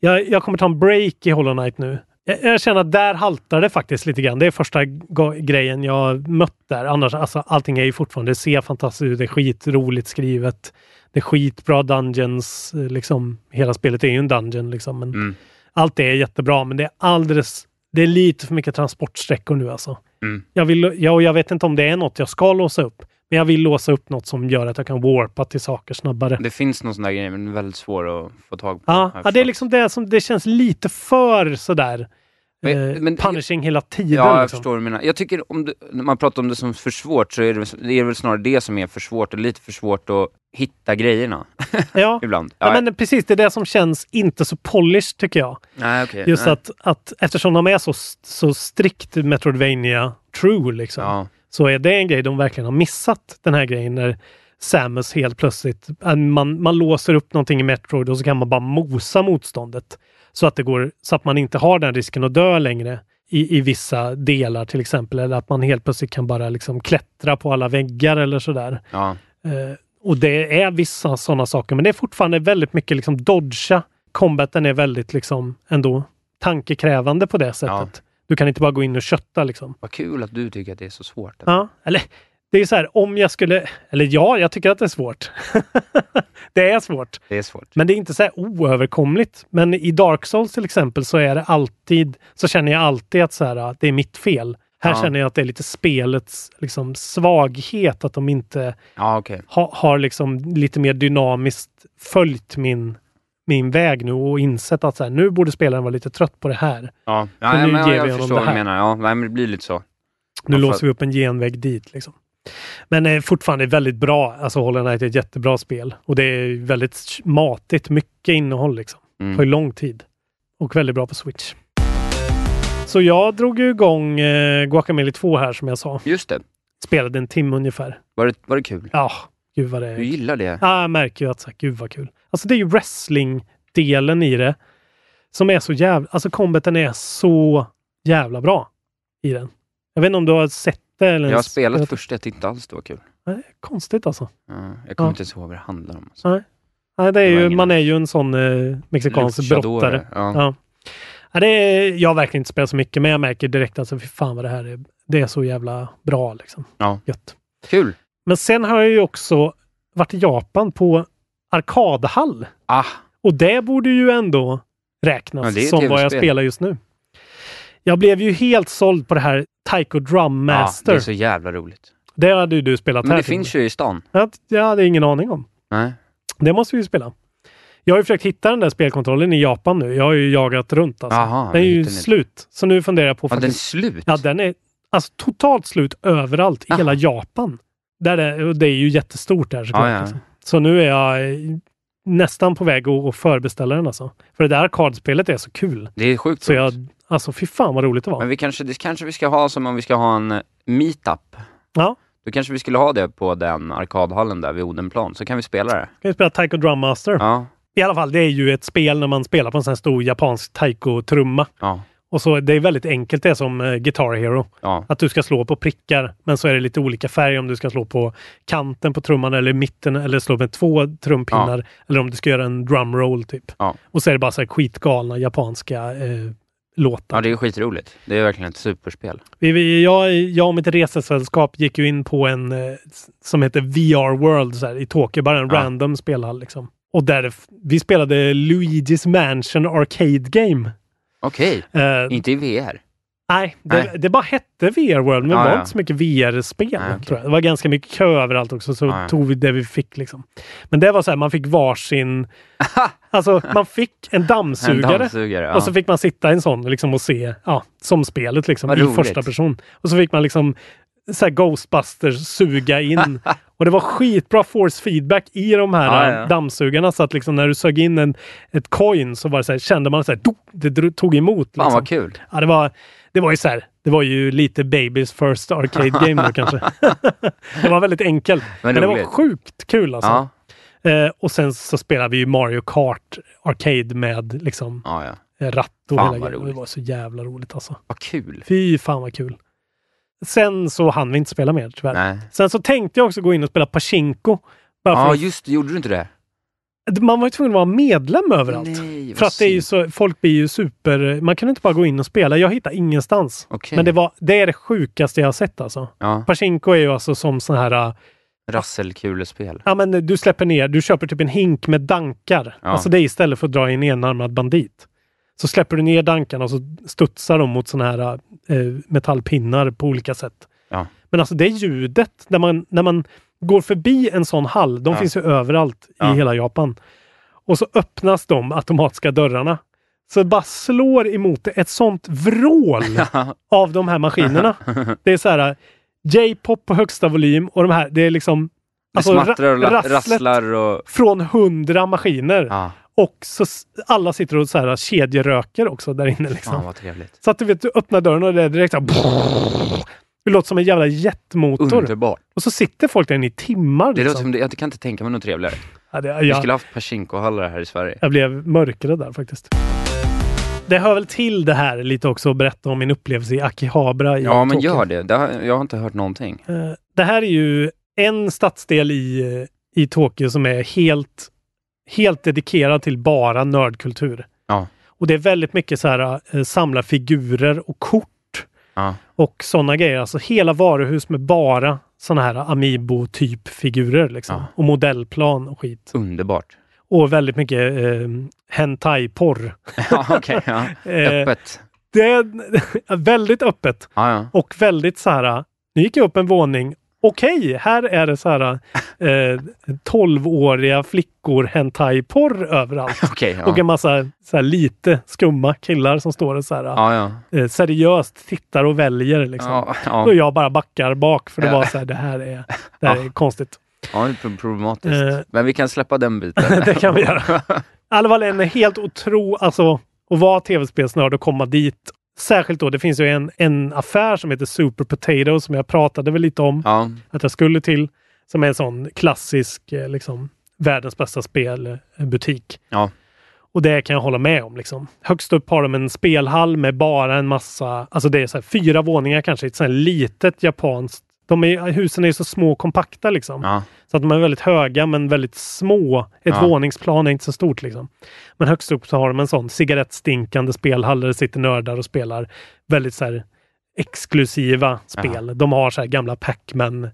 S5: Jag, jag kommer ta en break i Hollow Knight nu. Jag, jag känner att där haltar det faktiskt lite grann. Det är första go- grejen jag mött där. Annars, alltså, allting är ju fortfarande, det ser fantastiskt ut, det är skitroligt skrivet. Det är skitbra dungeons, eh, liksom. Hela spelet är ju en dungeon liksom. Men
S6: Mm.
S5: Allt det är jättebra, men det är alldeles... Det är lite för mycket transportsträckor nu alltså.
S6: Mm.
S5: Jag, vill, jag, och jag vet inte om det är något jag ska låsa upp, men jag vill låsa upp något som gör att jag kan warpa till saker snabbare.
S6: Det finns någon sån där grej, men den är väldigt svår att få tag på.
S5: Ja,
S6: har jag
S5: ja det är
S6: förstått.
S5: liksom det som det känns lite för sådär
S6: Men-
S5: eh,
S6: men-
S5: punishing hela tiden.
S6: Ja, jag
S5: liksom.
S6: förstår vad du menar. Jag tycker om du, när man pratar om det som för svårt så är det, väl- det är väl snarare det som är för svårt. Det är lite för svårt att hitta grejerna
S5: Ja.
S6: ibland.
S5: Ja,
S6: Ja,
S5: men precis, det är det som känns inte så polished tycker jag.
S6: nej, okej.
S5: Just
S6: nej.
S5: att, att eftersom de är så, så strikt Metroidvania true liksom,
S6: Ja.
S5: så är det en grej de verkligen har missat. Den här grejen när Samus helt plötsligt, eh, man, man låser upp någonting i Metroid och så kan man bara mosa motståndet. Så att det går, så att man inte har den risken att dö längre i, i vissa delar till exempel. Eller att man helt plötsligt kan bara liksom klättra på alla väggar eller sådär.
S6: Ja.
S5: Eh, och det är vissa sådana saker, men det är fortfarande väldigt mycket liksom dodga. Combaten är väldigt liksom ändå tankekrävande på det sättet. Du kan inte bara gå in och kötta liksom.
S6: Vad kul att du tycker att det är så svårt.
S5: Ja, eller det är ju så här, om jag skulle, eller ja, jag tycker att det är svårt. det är svårt,
S6: Det är svårt.
S5: men det är inte så här oöverkomligt. Men i Dark Souls till exempel så är det alltid, så känner jag alltid att så här, att det är mitt fel. Här
S6: Ja.
S5: känner jag att det är lite spelets liksom, svaghet, att de inte
S6: Ja, okej.
S5: ha, har liksom lite mer dynamiskt följt min, min väg nu och insett att så här, nu borde spelaren vara lite trött på det här.
S6: Ja,
S5: Så
S6: ja men,
S5: nu ger
S6: jag,
S5: vi
S6: jag
S5: honom
S6: förstår
S5: det
S6: vad du
S5: här.
S6: menar. Ja, nej, men det blir lite så.
S5: Nu
S6: Ja, för-
S5: låser vi upp en genväg dit. Liksom. Men eh, fortfarande väldigt bra. Alltså Hollow Knight är ett jättebra spel och det är väldigt matigt, mycket innehåll liksom.
S6: Mm.
S5: Tar ju lång tid och väldigt bra på Switch. Så jag drog ju igång eh, Guacamelee 2 här som jag sa.
S6: Just det.
S5: Spelade en timme ungefär.
S6: Var det, var det kul?
S5: Ja, gud vad det
S6: Du gillar det?
S5: Ja, jag märker ju att så här, gud vad kul. Alltså det är ju wrestling-delen i det som är så jävla... Alltså combaten är så jävla bra i den. Jag vet inte om du har sett inte eller
S6: Jag har
S5: ens-
S6: spelat första, jag tyckte inte alls det var kul.
S5: Nej, konstigt alltså.
S6: Ja, jag kommer
S5: Ja.
S6: inte ens ihåg vad det handlar om. Alltså.
S5: Nej. Nej, det är
S6: Det var
S5: ju,
S6: ingen-
S5: man är ju en sån eh, mexikansk
S6: Luchador,
S5: brottare.
S6: ja.
S5: Ja, det är, jag har verkligen inte spelat så mycket, men jag märker direkt alltså, fy fan vad det här är. Det är så jävla bra liksom.
S6: Ja.
S5: Gött.
S6: Kul!
S5: Men sen har jag ju också varit i Japan på arkadhall.
S6: Ah.
S5: Och det borde ju ändå räknas
S6: Ja, det är ett
S5: som vad jag
S6: tv-spel.
S5: spelar just nu. Jag blev ju helt såld på det här Taiko Drum
S6: Ja,
S5: Master.
S6: det är så jävla roligt.
S5: Det hade ju du spelat
S6: Men
S5: här.
S6: det
S5: Timmy.
S6: finns ju i stan.
S5: Ja, Jag hade ingen aning om.
S6: Nej.
S5: Det måste vi ju spela. Jag har ju försökt hitta den där spelkontrollen i Japan nu. Jag har ju jagat runt alltså.
S6: Aha,
S5: den är
S6: men
S5: ju
S6: hittar ni inte?
S5: slut. Så nu funderar jag på...
S6: Ja, den är
S5: slut? Ja, den är alltså, totalt slut överallt i hela Japan. Där det, och det är ju jättestort där såklart.
S6: Ah, Ja, ja.
S5: liksom. Så nu är jag eh, nästan på väg att att förbeställa den alltså. För det där arkadspelet är så kul.
S6: Det är sjukt
S5: Så jag, alltså fy fan vad roligt det var.
S6: Men vi kanske, det kanske vi ska ha som om vi ska ha en eh, meetup.
S5: Ja.
S6: Då kanske vi skulle ha det på den arkadhallen där vid Odenplan, så kan vi spela det.
S5: Kan vi spela Taiko Drum Master?
S6: Ja.
S5: I alla fall, det är ju ett spel när man spelar på en sån här stor japansk taiko-trumma.
S6: Ja.
S5: Och så, det är väldigt enkelt det är som eh, Guitar Hero.
S6: Ja.
S5: Att du ska slå på prickar, men så är det lite olika färg om du ska slå på kanten på trumman eller mitten eller slå med två trumpinnar. Eller om du ska göra en drumroll typ.
S6: Ja.
S5: Och så är det bara så här skitgalna japanska eh, låtar.
S6: ja, det är skitroligt. Det är verkligen ett superspel.
S5: Vi, vi, jag, jag och mitt resesällskap gick ju in på en eh, s- som heter VR World så här, i Tokyo, bara en
S6: Ja.
S5: random spelhall liksom. Och där det f- vi spelade Luigi's Mansion Arcade Game.
S6: Okej,
S5: Eh,
S6: inte i VR.
S5: Nej, det,
S6: Nej.
S5: det bara hette VR World, men det
S6: Ja,
S5: var
S6: ja.
S5: inte så mycket VR-spel.
S6: okej.
S5: tror jag. Det var ganska mycket kö överallt också, så
S6: Ja, ja.
S5: tog vi det vi fick. Liksom. Men det var så här, man fick varsin... alltså, man fick en dammsugare,
S6: En dammsugare, ja.
S5: och så fick man sitta i en sån liksom, och se, ja, som spelet, liksom, i
S6: Vad roligt.
S5: första person. Och så fick man liksom så här Ghostbusters suga in. och det var skitbra force feedback i de här
S6: Ja, ja.
S5: eh, dammsugarna, så att liksom, när du sög in en, ett coin så, var det så här, kände man så här, "Dok!" det dro- tog emot.
S6: Fan,
S5: liksom.
S6: vad kul.
S5: Ja, det var, det var ju så här. Det var ju lite Babys First Arcade Game då kanske. det var väldigt enkelt. Men,
S6: Men
S5: det var
S6: roligt.
S5: sjukt kul alltså. Eh, och sen så spelade vi ju Mario Kart Arcade med liksom
S6: Ja, ja.
S5: eh, ratt och
S6: Fan,
S5: hela
S6: vad
S5: grejen. Och Det
S6: roligt.
S5: var så jävla roligt alltså.
S6: Vad kul.
S5: Fy fan vad kul. Sen så hann vi inte spela mer tyvärr.
S6: Nej.
S5: Sen så tänkte jag också gå in och spela Pachinko. Bara för
S6: Ja,
S5: att-
S6: just det. Gjorde du inte det?
S5: man var ju tvungen att vara medlem överallt.
S6: Nej, vad
S5: för att det är ju så, folk blir ju super... Man kan inte bara gå in och spela. Jag hittar ingenstans.
S6: Okej.
S5: Men det, var, det är det sjukaste jag har sett alltså.
S6: Ja.
S5: Pachinko är ju alltså som sån här... äh,
S6: Rasselkulespel.
S5: Ja men du släpper ner, du köper typ en hink med dankar.
S6: Ja.
S5: Alltså det är istället för att dra in enarmad bandit. Så släpper du ner dankarna och så studsar de mot såna här äh, metallpinnar på olika sätt.
S6: Ja.
S5: Men alltså det ljudet, när man, när man går förbi en sån hall, de
S6: Ja.
S5: finns ju överallt i
S6: Ja.
S5: hela Japan. Och så öppnas de automatiska dörrarna. Så det bara slår emot det ett sånt vrål av de här maskinerna. Det är så här J-pop på högsta volym och de här, det är liksom
S6: Det
S5: ra-
S6: smattrar och la-
S5: rasslet
S6: rasslar och...
S5: från hundra maskiner.
S6: Ja.
S5: Och så s- alla sitter och så här kedjeröker också där inne. Liksom.
S6: Fan vad trevligt.
S5: Så att du vet, du öppnar dörren och det är direkt så här, Det låter som en jävla jetmotor.
S6: Underbart.
S5: Och så sitter folk där inne i timmar.
S6: Det låter
S5: Liksom.
S6: som det, jag kan inte tänka mig något trevligare.
S5: Ja, det,
S6: Vi
S5: jag,
S6: skulle haft Pachinko-hallar här i Sverige.
S5: jag blev mörkrädd där faktiskt. Det hör väl till det här lite också att berätta om min upplevelse i Akihabara i
S6: Ja, men
S5: Tokyo.
S6: gör det. det har, jag har inte hört någonting.
S5: Eh, Det här är ju en stadsdel i, eh, i Tokyo som är helt, helt dedikerad till bara nördkultur.
S6: Ja.
S5: Och det är väldigt mycket så här eh, samla figurer och kort
S6: Ja.
S5: och sådana grejer. Alltså hela varuhus med bara sådana här Amiibo-typ figurer liksom.
S6: Ja.
S5: Och modellplan och skit.
S6: Underbart.
S5: Och väldigt mycket eh, hentai-porr.
S6: Ja, okej. ja.
S5: Eh,
S6: Öppet.
S5: Det är väldigt öppet.
S6: Ja, ja.
S5: Och väldigt så här, nu gick jag upp en våning. Okej, här är det så här eh, 12-åriga flickor hentai-porr överallt.
S6: Okej,
S5: Och
S6: ja.
S5: en massa så här, lite skumma killar som står och så här,
S6: Ja, ja.
S5: eh, seriöst tittar och väljer. Liksom.
S6: Ja, ja.
S5: Och jag bara backar bak för det
S6: Ja.
S5: var så här, det här är, det här
S6: Ja.
S5: är konstigt.
S6: Ja, det är pro- problematiskt.
S5: Eh.
S6: Men vi kan släppa den biten.
S5: Det kan vi göra. I alla fall en helt otro, alltså att vara tv-spelsnörd och komma dit. Särskilt då, det finns ju en, en affär som heter Super Potato som jag pratade väl lite om
S6: Ja,
S5: att jag skulle till. Som är en sån klassisk, eh, liksom, världens bästa spelbutik.
S6: ja.
S5: eh, Och det kan jag hålla med om. Liksom. Högst upp har de en spelhall med bara en massa, alltså det är så här fyra våningar kanske, ett sånt här litet japanskt. De är, husen är ju så små och kompakta liksom. Så att de är väldigt höga men väldigt små. Ett
S8: Ja.
S5: våningsplan är inte så stort liksom. Men högst upp så har de en sån cigarettstinkande spelhall där det sitter nördar och spelar väldigt så här exklusiva spel. De har så här gamla Pac-Man eh,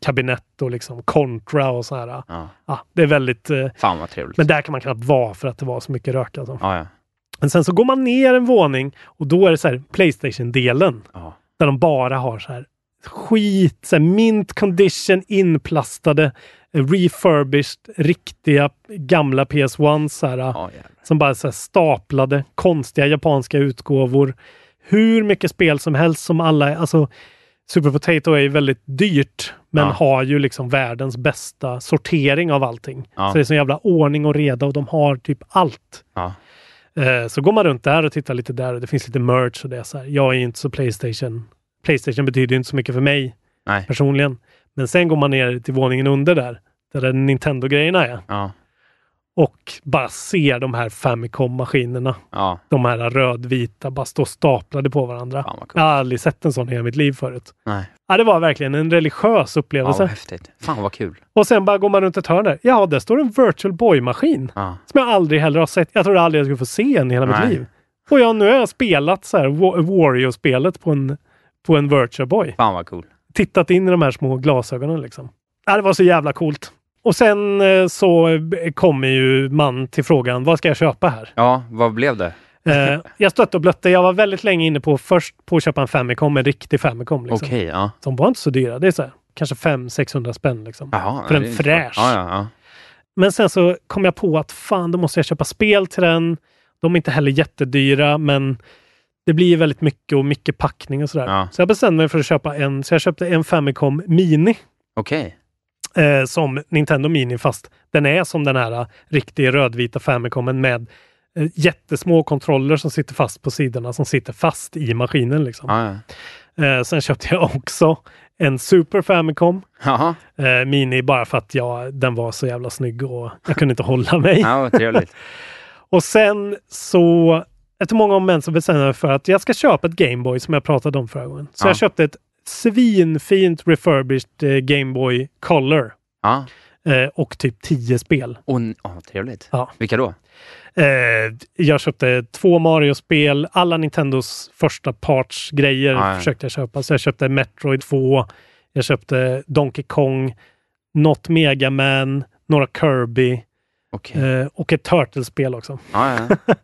S5: kabinett och liksom Contra och så här.
S6: Ja.
S5: Ja, det är väldigt... Eh,
S6: Fan vad trevligt.
S5: men där kan man knappt vara för att det var så mycket rök. Alltså.
S6: Ja, ja.
S5: Men sen så går man ner en våning och då är det så här Playstation-delen. Där de bara har så här skit, så här mint condition inplastade, eh, refurbished, riktiga gamla PS1 så här, som bara så här staplade, konstiga japanska utgåvor. Hur mycket spel som helst som alla, alltså Super Potato är ju väldigt dyrt, men
S8: Ja.
S5: har ju liksom världens bästa sortering av allting.
S8: Ja.
S5: Så det är sån jävla ordning och reda och de har typ allt.
S6: Ja.
S5: Eh, Så går man runt där och tittar lite där och det finns lite merch och det är så här. Jag är ju inte så Playstation. Playstation betyder ju inte så mycket för mig
S6: Nej.
S5: personligen. Men sen går man ner till våningen under där, där den Nintendo-grejerna är.
S6: Ja.
S5: Och bara ser de här Famicom-maskinerna.
S6: Ja.
S5: De här rödvita bara står staplade på varandra. Jag har aldrig sett en sån i hela mitt liv förut.
S6: Nej.
S5: Ja, det var verkligen en religiös
S6: Ja, vad
S5: upplevelse.
S6: häftigt. Fan vad kul.
S5: Och sen bara går man runt ett hörn där. Ja, där står en virtual boy-maskin.
S6: Ja.
S5: Som jag aldrig heller har sett. Jag trodde aldrig jag skulle få se en i hela
S6: Nej.
S5: mitt liv. Och jag, nu har jag spelat så här Wa- Wario-spelet på en, på en virtual boy.
S6: Fan vad cool.
S5: Tittat in i de här små glasögonen liksom. Ja, det var så jävla coolt. Och sen eh, så eh, kommer ju man till frågan, vad ska jag köpa här?
S6: Ja, vad blev det?
S5: Eh, jag stötte och blötte. Jag var väldigt länge inne på först på att köpa en Famicom, en riktig Famicom. Liksom.
S6: Okej, ja.
S5: De var inte så dyra. Det är så här, kanske 500-600 spänn liksom.
S6: Jaha,
S5: för
S6: det är
S5: en
S6: inte-
S5: fräsch.
S6: Ja, ja, ja.
S5: Men sen så kom jag på att fan, då måste jag köpa spel till den. De är inte heller jättedyra, men det blir väldigt mycket och mycket packning och sådär. Så jag bestämde mig för att köpa en, så jag köpte en Famicom Mini.
S6: Okej.
S5: Eh, som Nintendo Mini, fast den är som den här eh, riktiga rödvita Famicomen med eh, jättesmå kontroller som sitter fast på sidorna, som sitter fast i maskinen liksom. Eh, sen köpte jag också en Super Famicom eh, Mini bara för att jag, den var så jävla snygg och jag kunde inte hålla mig.
S6: Ja, vad trevligt.
S5: och sen så, efter många om och men, så bestämde jag mig för att jag ska köpa ett Gameboy som jag pratade om förra gången. Så
S6: Ja.
S5: jag köpte ett svinfint refurbished eh, Gameboy Color. Eh, och typ tio spel.
S6: Och, oh, trevligt.
S5: Ja.
S6: Vilka då?
S5: Eh, jag köpte två Mario-spel, alla Nintendos första parts-grejer
S6: Ja, ja.
S5: försökte jag köpa. Så jag köpte Metroid 2, jag köpte Donkey Kong, något Mega Man, några Kirby eh, och ett Turtles-spel också.
S6: Ja, ja.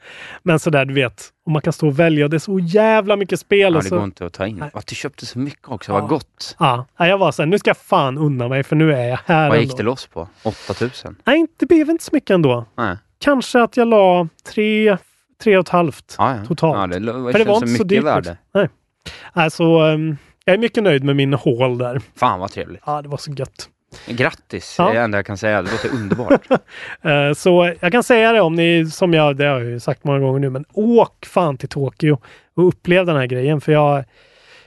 S5: Men sådär, du vet, och man kan stå och välja och det är så jävla mycket spel.
S6: ja,
S5: och
S6: det
S5: så,
S6: går inte att ta in. Att du köpte så mycket också, vad
S5: Ja.
S6: gott.
S5: Ja, nej, jag var såhär, nu ska jag fan unna mig för nu är jag här
S6: Vad
S5: ändå.
S6: gick det loss på? 8000?
S5: Nej, inte- det blev inte så mycket ändå.
S6: Nej.
S5: Kanske att jag la tre, tre och ett halvt
S6: Ja, ja.
S5: totalt.
S6: Ja, det, lo-
S5: För det
S6: känns
S5: var
S6: som
S5: inte så
S6: mycket
S5: dyrt.
S6: värde.
S5: också. Nej. Alltså, ehm, jag är mycket nöjd med min haul där.
S6: Fan vad trevligt.
S5: Ja, det var så gött.
S6: Grattis,
S5: Ja.
S6: det är det enda jag kan säga. Det låter underbart.
S5: Eh, så jag kan säga det om ni, som jag, det har jag ju sagt många gånger nu, men åk fan till Tokyo och upplev den här grejen. För jag,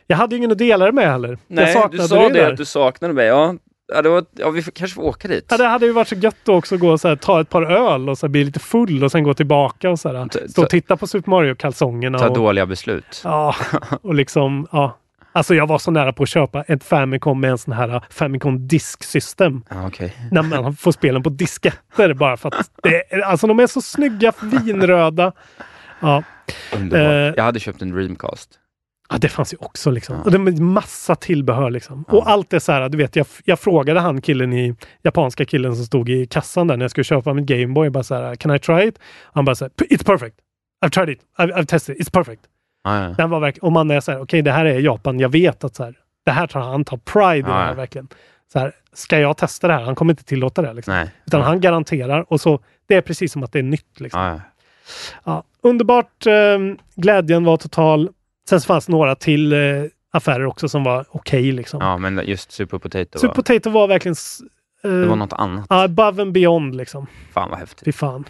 S5: jag hade ju ingen att dela det med heller. jag
S9: Nej,
S5: saknade
S9: du sa
S5: dig
S9: det
S5: där.
S9: att du saknade mig. Ja, ja, det var, ja vi får, kanske får åka dit.
S5: Ja, det hade ju varit så gött att också gå och så här, ta ett par öl och så här, bli lite full och sen gå tillbaka och så här, stå och titta på Super Mario-kalsongerna.
S6: Ta
S5: och-
S6: dåliga beslut.
S5: Ja, och liksom, ja. Alltså jag var så nära på att köpa ett Famicom med en sån här äh, Famicom Disk System.
S6: Ja, okej.
S5: När man får spelen på disketter bara för att det, är- alltså de är så snygga, vinröda. Ja,
S6: Underbart.
S5: Eh.
S6: jag hade köpt en Dreamcast.
S5: ja det fanns ju också liksom. Och det är massa tillbehör liksom. Och allt är så här, du vet, jag, jag frågade han killen i, japanska killen som stod i kassan där när jag skulle köpa min Gameboy, bara så här, can I try it? Han bara så här, it's perfect. I've tried it. I've, I've tested it. It's perfect.
S6: Ja, ja.
S5: Den var verkligen, om man är så här, okej det här är Japan, jag vet att så här, det här tar han tar pride i det
S6: Ja,
S5: här
S6: ja.
S5: verkligen. Så här, ska jag testa det här? Han kommer inte tillåta det. här, Liksom.
S6: Nej.
S5: Utan han garanterar och så, det är precis som att det är nytt. Liksom.
S6: Ja, ja.
S5: Ja, underbart, eh, glädjen var total. Sen så fanns några till eh, affärer också som var okej. liksom.
S6: ja, men just Super Potato.
S5: Super
S6: var-
S5: Potato var verkligen... s- eh,
S6: det var något annat.
S5: ja, above and beyond liksom.
S6: Fan vad häftigt.
S5: Fy fan.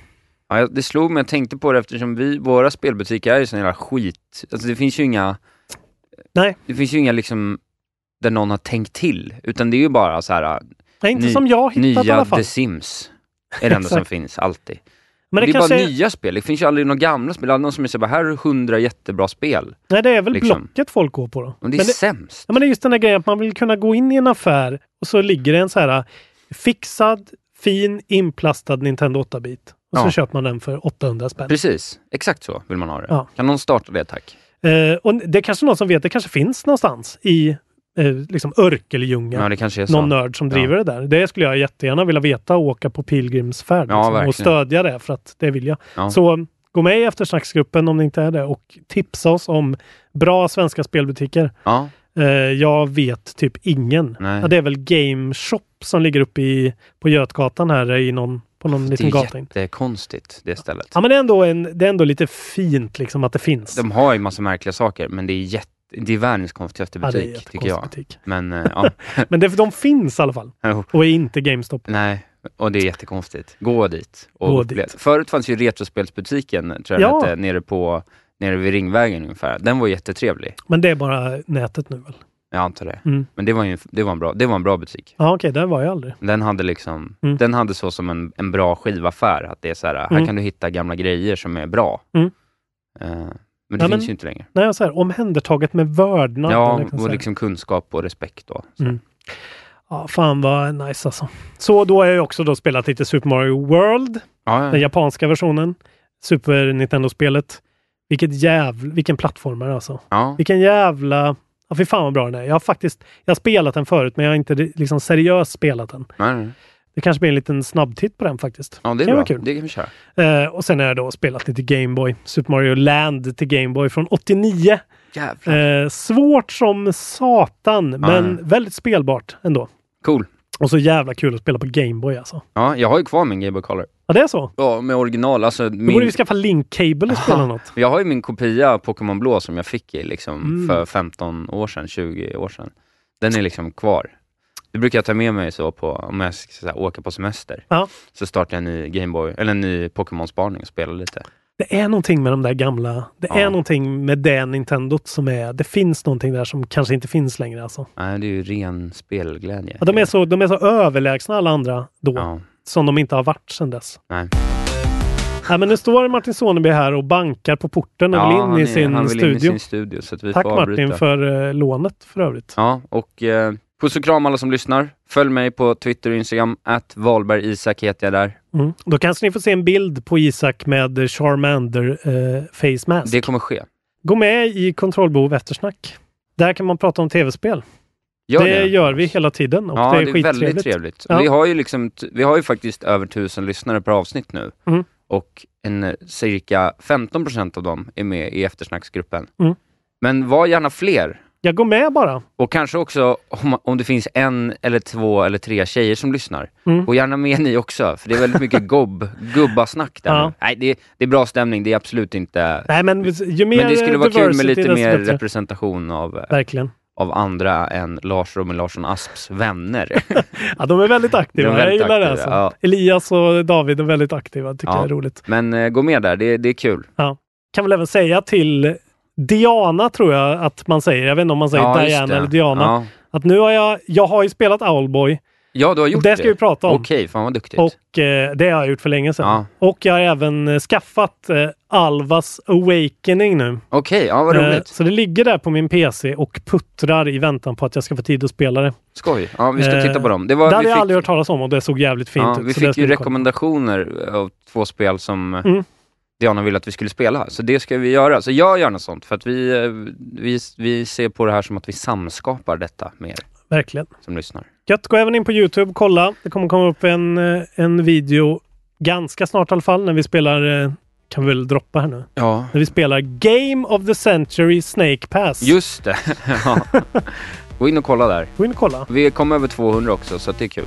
S6: Ja, jag- det slog mig, jag tänkte på det eftersom vi, våra spelbutiker är ju sån jävla skit. Alltså det finns ju inga...
S5: Nej.
S6: Det finns ju inga liksom där någon har tänkt till, utan det är ju bara så här...
S5: Nej, inte som jag har hittat i
S6: Nya
S5: alla fall.
S6: The Sims är det enda som
S5: Exakt.
S6: finns, alltid.
S5: Men
S6: det,
S5: det
S6: är bara
S5: kanske-
S6: nya spel, det finns ju aldrig några gamla spel. Det är aldrig någon som säger bara här är hundra jättebra spel.
S5: Nej, det är väl
S6: Liksom.
S5: Blocket folk går på då.
S6: Men det är sämst.
S5: Ja, men det är just den där grejen att man vill kunna gå in i en affär och så ligger det en så här eh, fixad, fin, inplastad Nintendo 8-bit. Och så
S6: Ja.
S5: köper man den för 800 spänn.
S6: Precis, exakt så vill man ha det.
S5: Ja.
S6: Kan någon starta det tack?
S5: Eh, och det är kanske någon som vet, det kanske finns någonstans i eh, liksom Örkeljunga.
S6: Ja, det kanske är så.
S5: någon nörd som driver det där. Det skulle jag jättegärna vilja veta och åka på pilgrimsfärd
S6: Ja,
S5: liksom,
S6: verkligen.
S5: och stödja det för att det vill jag.
S6: Ja.
S5: Så um, gå med i eftersnacksgruppen om ni inte är det och tipsa oss om bra svenska spelbutiker.
S6: Ja.
S5: Eh, jag vet typ ingen.
S6: Nej.
S5: Ja, det är väl Game Shop som ligger uppe i, på Götgatan här eh, i någon, på någon
S6: Det
S5: liten
S6: är
S5: gata. in.
S6: jättekonstigt det stället.
S5: Ja men det är, ändå en, det är ändå lite fint liksom att det finns.
S6: De har ju massa märkliga saker, men det är, jätte, det är världens konstigaste
S5: Ja, det är
S6: butik, tycker jag.
S5: jättekonstig
S6: Men eh, ja.
S5: Men det, de finns i alla fall.
S6: Jo.
S5: Och är inte GameStop.
S6: Nej, och det är jättekonstigt. Gå dit. Och
S5: Gå
S6: upple- Förut fanns ju Retrospelsbutiken, tror jag
S5: Ja.
S6: ja. hette, nere, på, nere vid Ringvägen ungefär. Den var jättetrevlig.
S5: Men det är bara nätet nu väl?
S6: Jag antar det.
S5: Mm.
S6: Men det var, ju, det, var en bra, det var en bra butik.
S5: Ja okej, där var jag aldrig.
S6: Den hade liksom,
S5: Mm.
S6: den hade så som en, en bra skivaffär, att det är så här,
S5: Mm.
S6: här kan du hitta gamla grejer som är bra.
S5: Mm.
S6: Eh, men det finns
S5: Ja, men-
S6: ju inte längre.
S5: Nej, så här, omhändertaget med vördnad.
S6: Ja,
S5: eller liksom så
S6: och
S5: här.
S6: liksom kunskap och respekt då.
S5: Mm. Ja, fan vad nice alltså. Så då har jag ju också då spelat lite Super Mario World.
S6: Ja, ja.
S5: Den japanska versionen. Super Nintendo-spelet. Vilket jävla, vilken plattformare alltså.
S6: Ja.
S5: Vilken jävla... Ja, fy fan vad bra den är. Jag har faktiskt, jag har spelat den förut men jag har inte liksom seriöst spelat den.
S6: Nej, nej.
S5: Det kanske blir en liten snabbtitt på den faktiskt.
S6: ja, det är
S5: kan
S6: bra.
S5: vara kul.
S6: Det kan vi köra.
S5: Eh, och sen har jag då spelat lite Gameboy. Super Mario Land till Gameboy från 89. Eh, svårt som satan, men väldigt spelbart ändå.
S6: Cool.
S5: Och så jävla kul att spela på Gameboy alltså.
S6: Ja, jag har ju kvar min Game Boy Color.
S5: Ja, det är så.
S6: Ja, med original. Alltså,
S5: Då borde
S6: min...
S5: vi skaffa Link Cable och spela något.
S6: Jag har ju min kopia av Pokémon Blå som jag fick i liksom
S5: Mm.
S6: för 15 år sedan, 20 år sedan. Den är liksom kvar. Det brukar jag ta med mig så på, om jag ska så här, åka på semester.
S5: Ja.
S6: Så startar jag en ny Gameboy, eller en ny Pokémon-spaning och spelar lite.
S5: Det är någonting med de där gamla. Det
S6: Ja.
S5: är någonting med det Nintendot som är. Det finns någonting där som kanske inte finns längre alltså.
S6: Nej, det är ju ren spelglädje.
S5: Ja, de, är så, de är så överlägsna alla andra då.
S6: Ja.
S5: Som de inte har varit sedan dess.
S6: Nej.
S5: Nej, men nu står Martin Soneby här och bankar på porten och vill in
S6: han,
S5: i
S6: är-
S5: sin
S6: han vill
S5: studio.
S6: in i sin studio. Så att vi
S5: Tack
S6: får avbryta.
S5: Martin för eh, lånet för övrigt.
S6: Ja, och eh, puss och kram alla som lyssnar. Följ mig på Twitter och Instagram, att Valberg Isak heter jag där.
S5: Mm. Då kanske ni får se en bild på Isak med eh, Charmander eh, face mask.
S6: Det kommer ske.
S5: Gå med i Kontrollbehov eftersnack. Där kan man prata om tv-spel.
S6: Gör
S5: det,
S6: det.
S5: gör vi hela tiden och
S6: ja,
S5: det är,
S6: väldigt
S5: skittrevligt.
S6: trevligt.
S5: Ja.
S6: Vi, har ju liksom, t- vi har ju faktiskt över tusen lyssnare per avsnitt nu
S5: Mm.
S6: och en, eh, cirka 15% av dem är med i eftersnacksgruppen.
S5: Mm.
S6: Men var gärna fler.
S5: Jag går med bara.
S6: Och kanske också om, om det finns en eller två eller tre tjejer som lyssnar.
S5: Mm.
S6: Och gärna med ni också, för det är väldigt mycket gobb, gubbasnack där
S5: Ja.
S6: nu. Nej, det, det är bra stämning, det är absolut inte...
S5: Nej, men ju mer
S6: Men det skulle vara kul med
S5: diversity,
S6: lite
S5: desto
S6: mer
S5: bättre.
S6: representation av, eh,
S5: Verkligen.
S6: av andra än Lars Robin Larsson Asps vänner.
S5: Ja, de är väldigt aktiva.
S6: De är väldigt
S5: jag gillar
S6: aktiva,
S5: det.
S6: ja.
S5: Alltså. Elias och David är väldigt aktiva. tycker jag är roligt.
S6: Men eh, gå med där, det, det är kul.
S5: Ja. Kan väl även säga till Diana tror jag att man säger. Jag vet inte om man säger
S6: Ja, just
S5: Alltså, Diana
S6: det.
S5: eller Diana.
S6: Ja.
S5: Att nu har jag, jag har ju spelat Owlboy
S6: Ja, du har gjort det.
S5: Det ska vi prata om.
S6: Okej, fan vad duktigt.
S5: och eh, det har jag gjort för länge sedan.
S6: Ja.
S5: Och jag har även eh, skaffat eh, Alvas Awakening nu.
S6: Okej, ja vad
S5: Eh,
S6: roligt.
S5: Så det ligger där på min PC och puttrar i väntan på att jag ska få tid att spela det.
S6: Skoj. Ja, vi ska
S5: Eh,
S6: titta på dem. Det
S5: Det,
S6: var,
S5: hade
S6: vi
S5: jag
S6: fick,
S5: aldrig hört talas om och det såg jävligt fint
S6: ja,
S5: ut.
S6: vi
S5: så det
S6: fick
S5: ska
S6: ju
S5: vi kolla.
S6: rekommendationer av två spel som eh,
S5: Mm.
S6: Diana ville att vi skulle spela. Så det ska vi göra. Så gör gärna sånt, för att vi, eh, vi, vi ser på det här som att vi samskapar detta med er
S5: Verkligen.
S6: som lyssnar.
S5: Gött, gå även in på Youtube och kolla. Det kommer komma upp en, eh, en video ganska snart i alla fall när vi spelar, eh, kan vi väl droppa här nu,
S6: Ja,
S5: när vi spelar Game of the Century Snake Pass.
S6: just det. Ja. Gå in och kolla där.
S5: Gå in och kolla.
S6: Vi kom över 200 också, så att det är kul.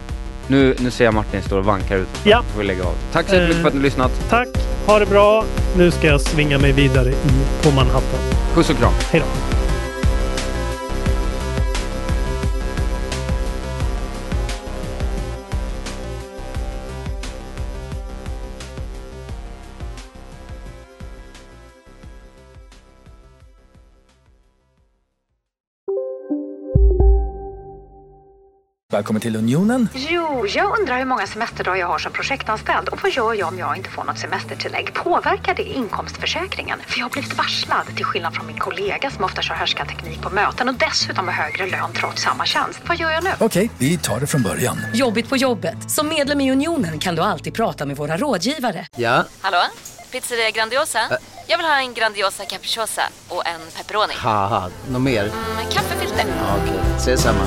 S6: Nu, nu ser jag Martin står och vankar ut.
S5: Ja.
S6: Får vi lägga av. Tack så jättemycket
S5: Eh.
S6: för att ni har lyssnat.
S5: Tack, ha det bra. Nu ska jag svinga mig vidare i, på Manhattan.
S6: Puss och kram.
S5: Hej då.
S8: Välkommen till Unionen.
S10: Jo, jag undrar hur många semesterdagar jag har som projektanställd och vad gör jag om jag inte får något semestertillägg? Påverkar det inkomstförsäkringen? För jag har blivit varslad, till skillnad från min kollega som ofta kör härskarteknik på möten och dessutom har högre lön trots samma tjänst. Vad gör jag nu?
S8: Okej, vi tar det från början.
S11: Jobbigt på jobbet. Som medlem i Unionen kan du alltid prata med våra rådgivare.
S8: Ja,
S12: Hallå? Pizzeria Grandiosa?
S8: Ä-
S12: Jag vill ha en Grandiosa capriciosa och en pepperoni.
S8: haha, något mer?
S12: Med kaffefilter.
S8: Okej, ses samma.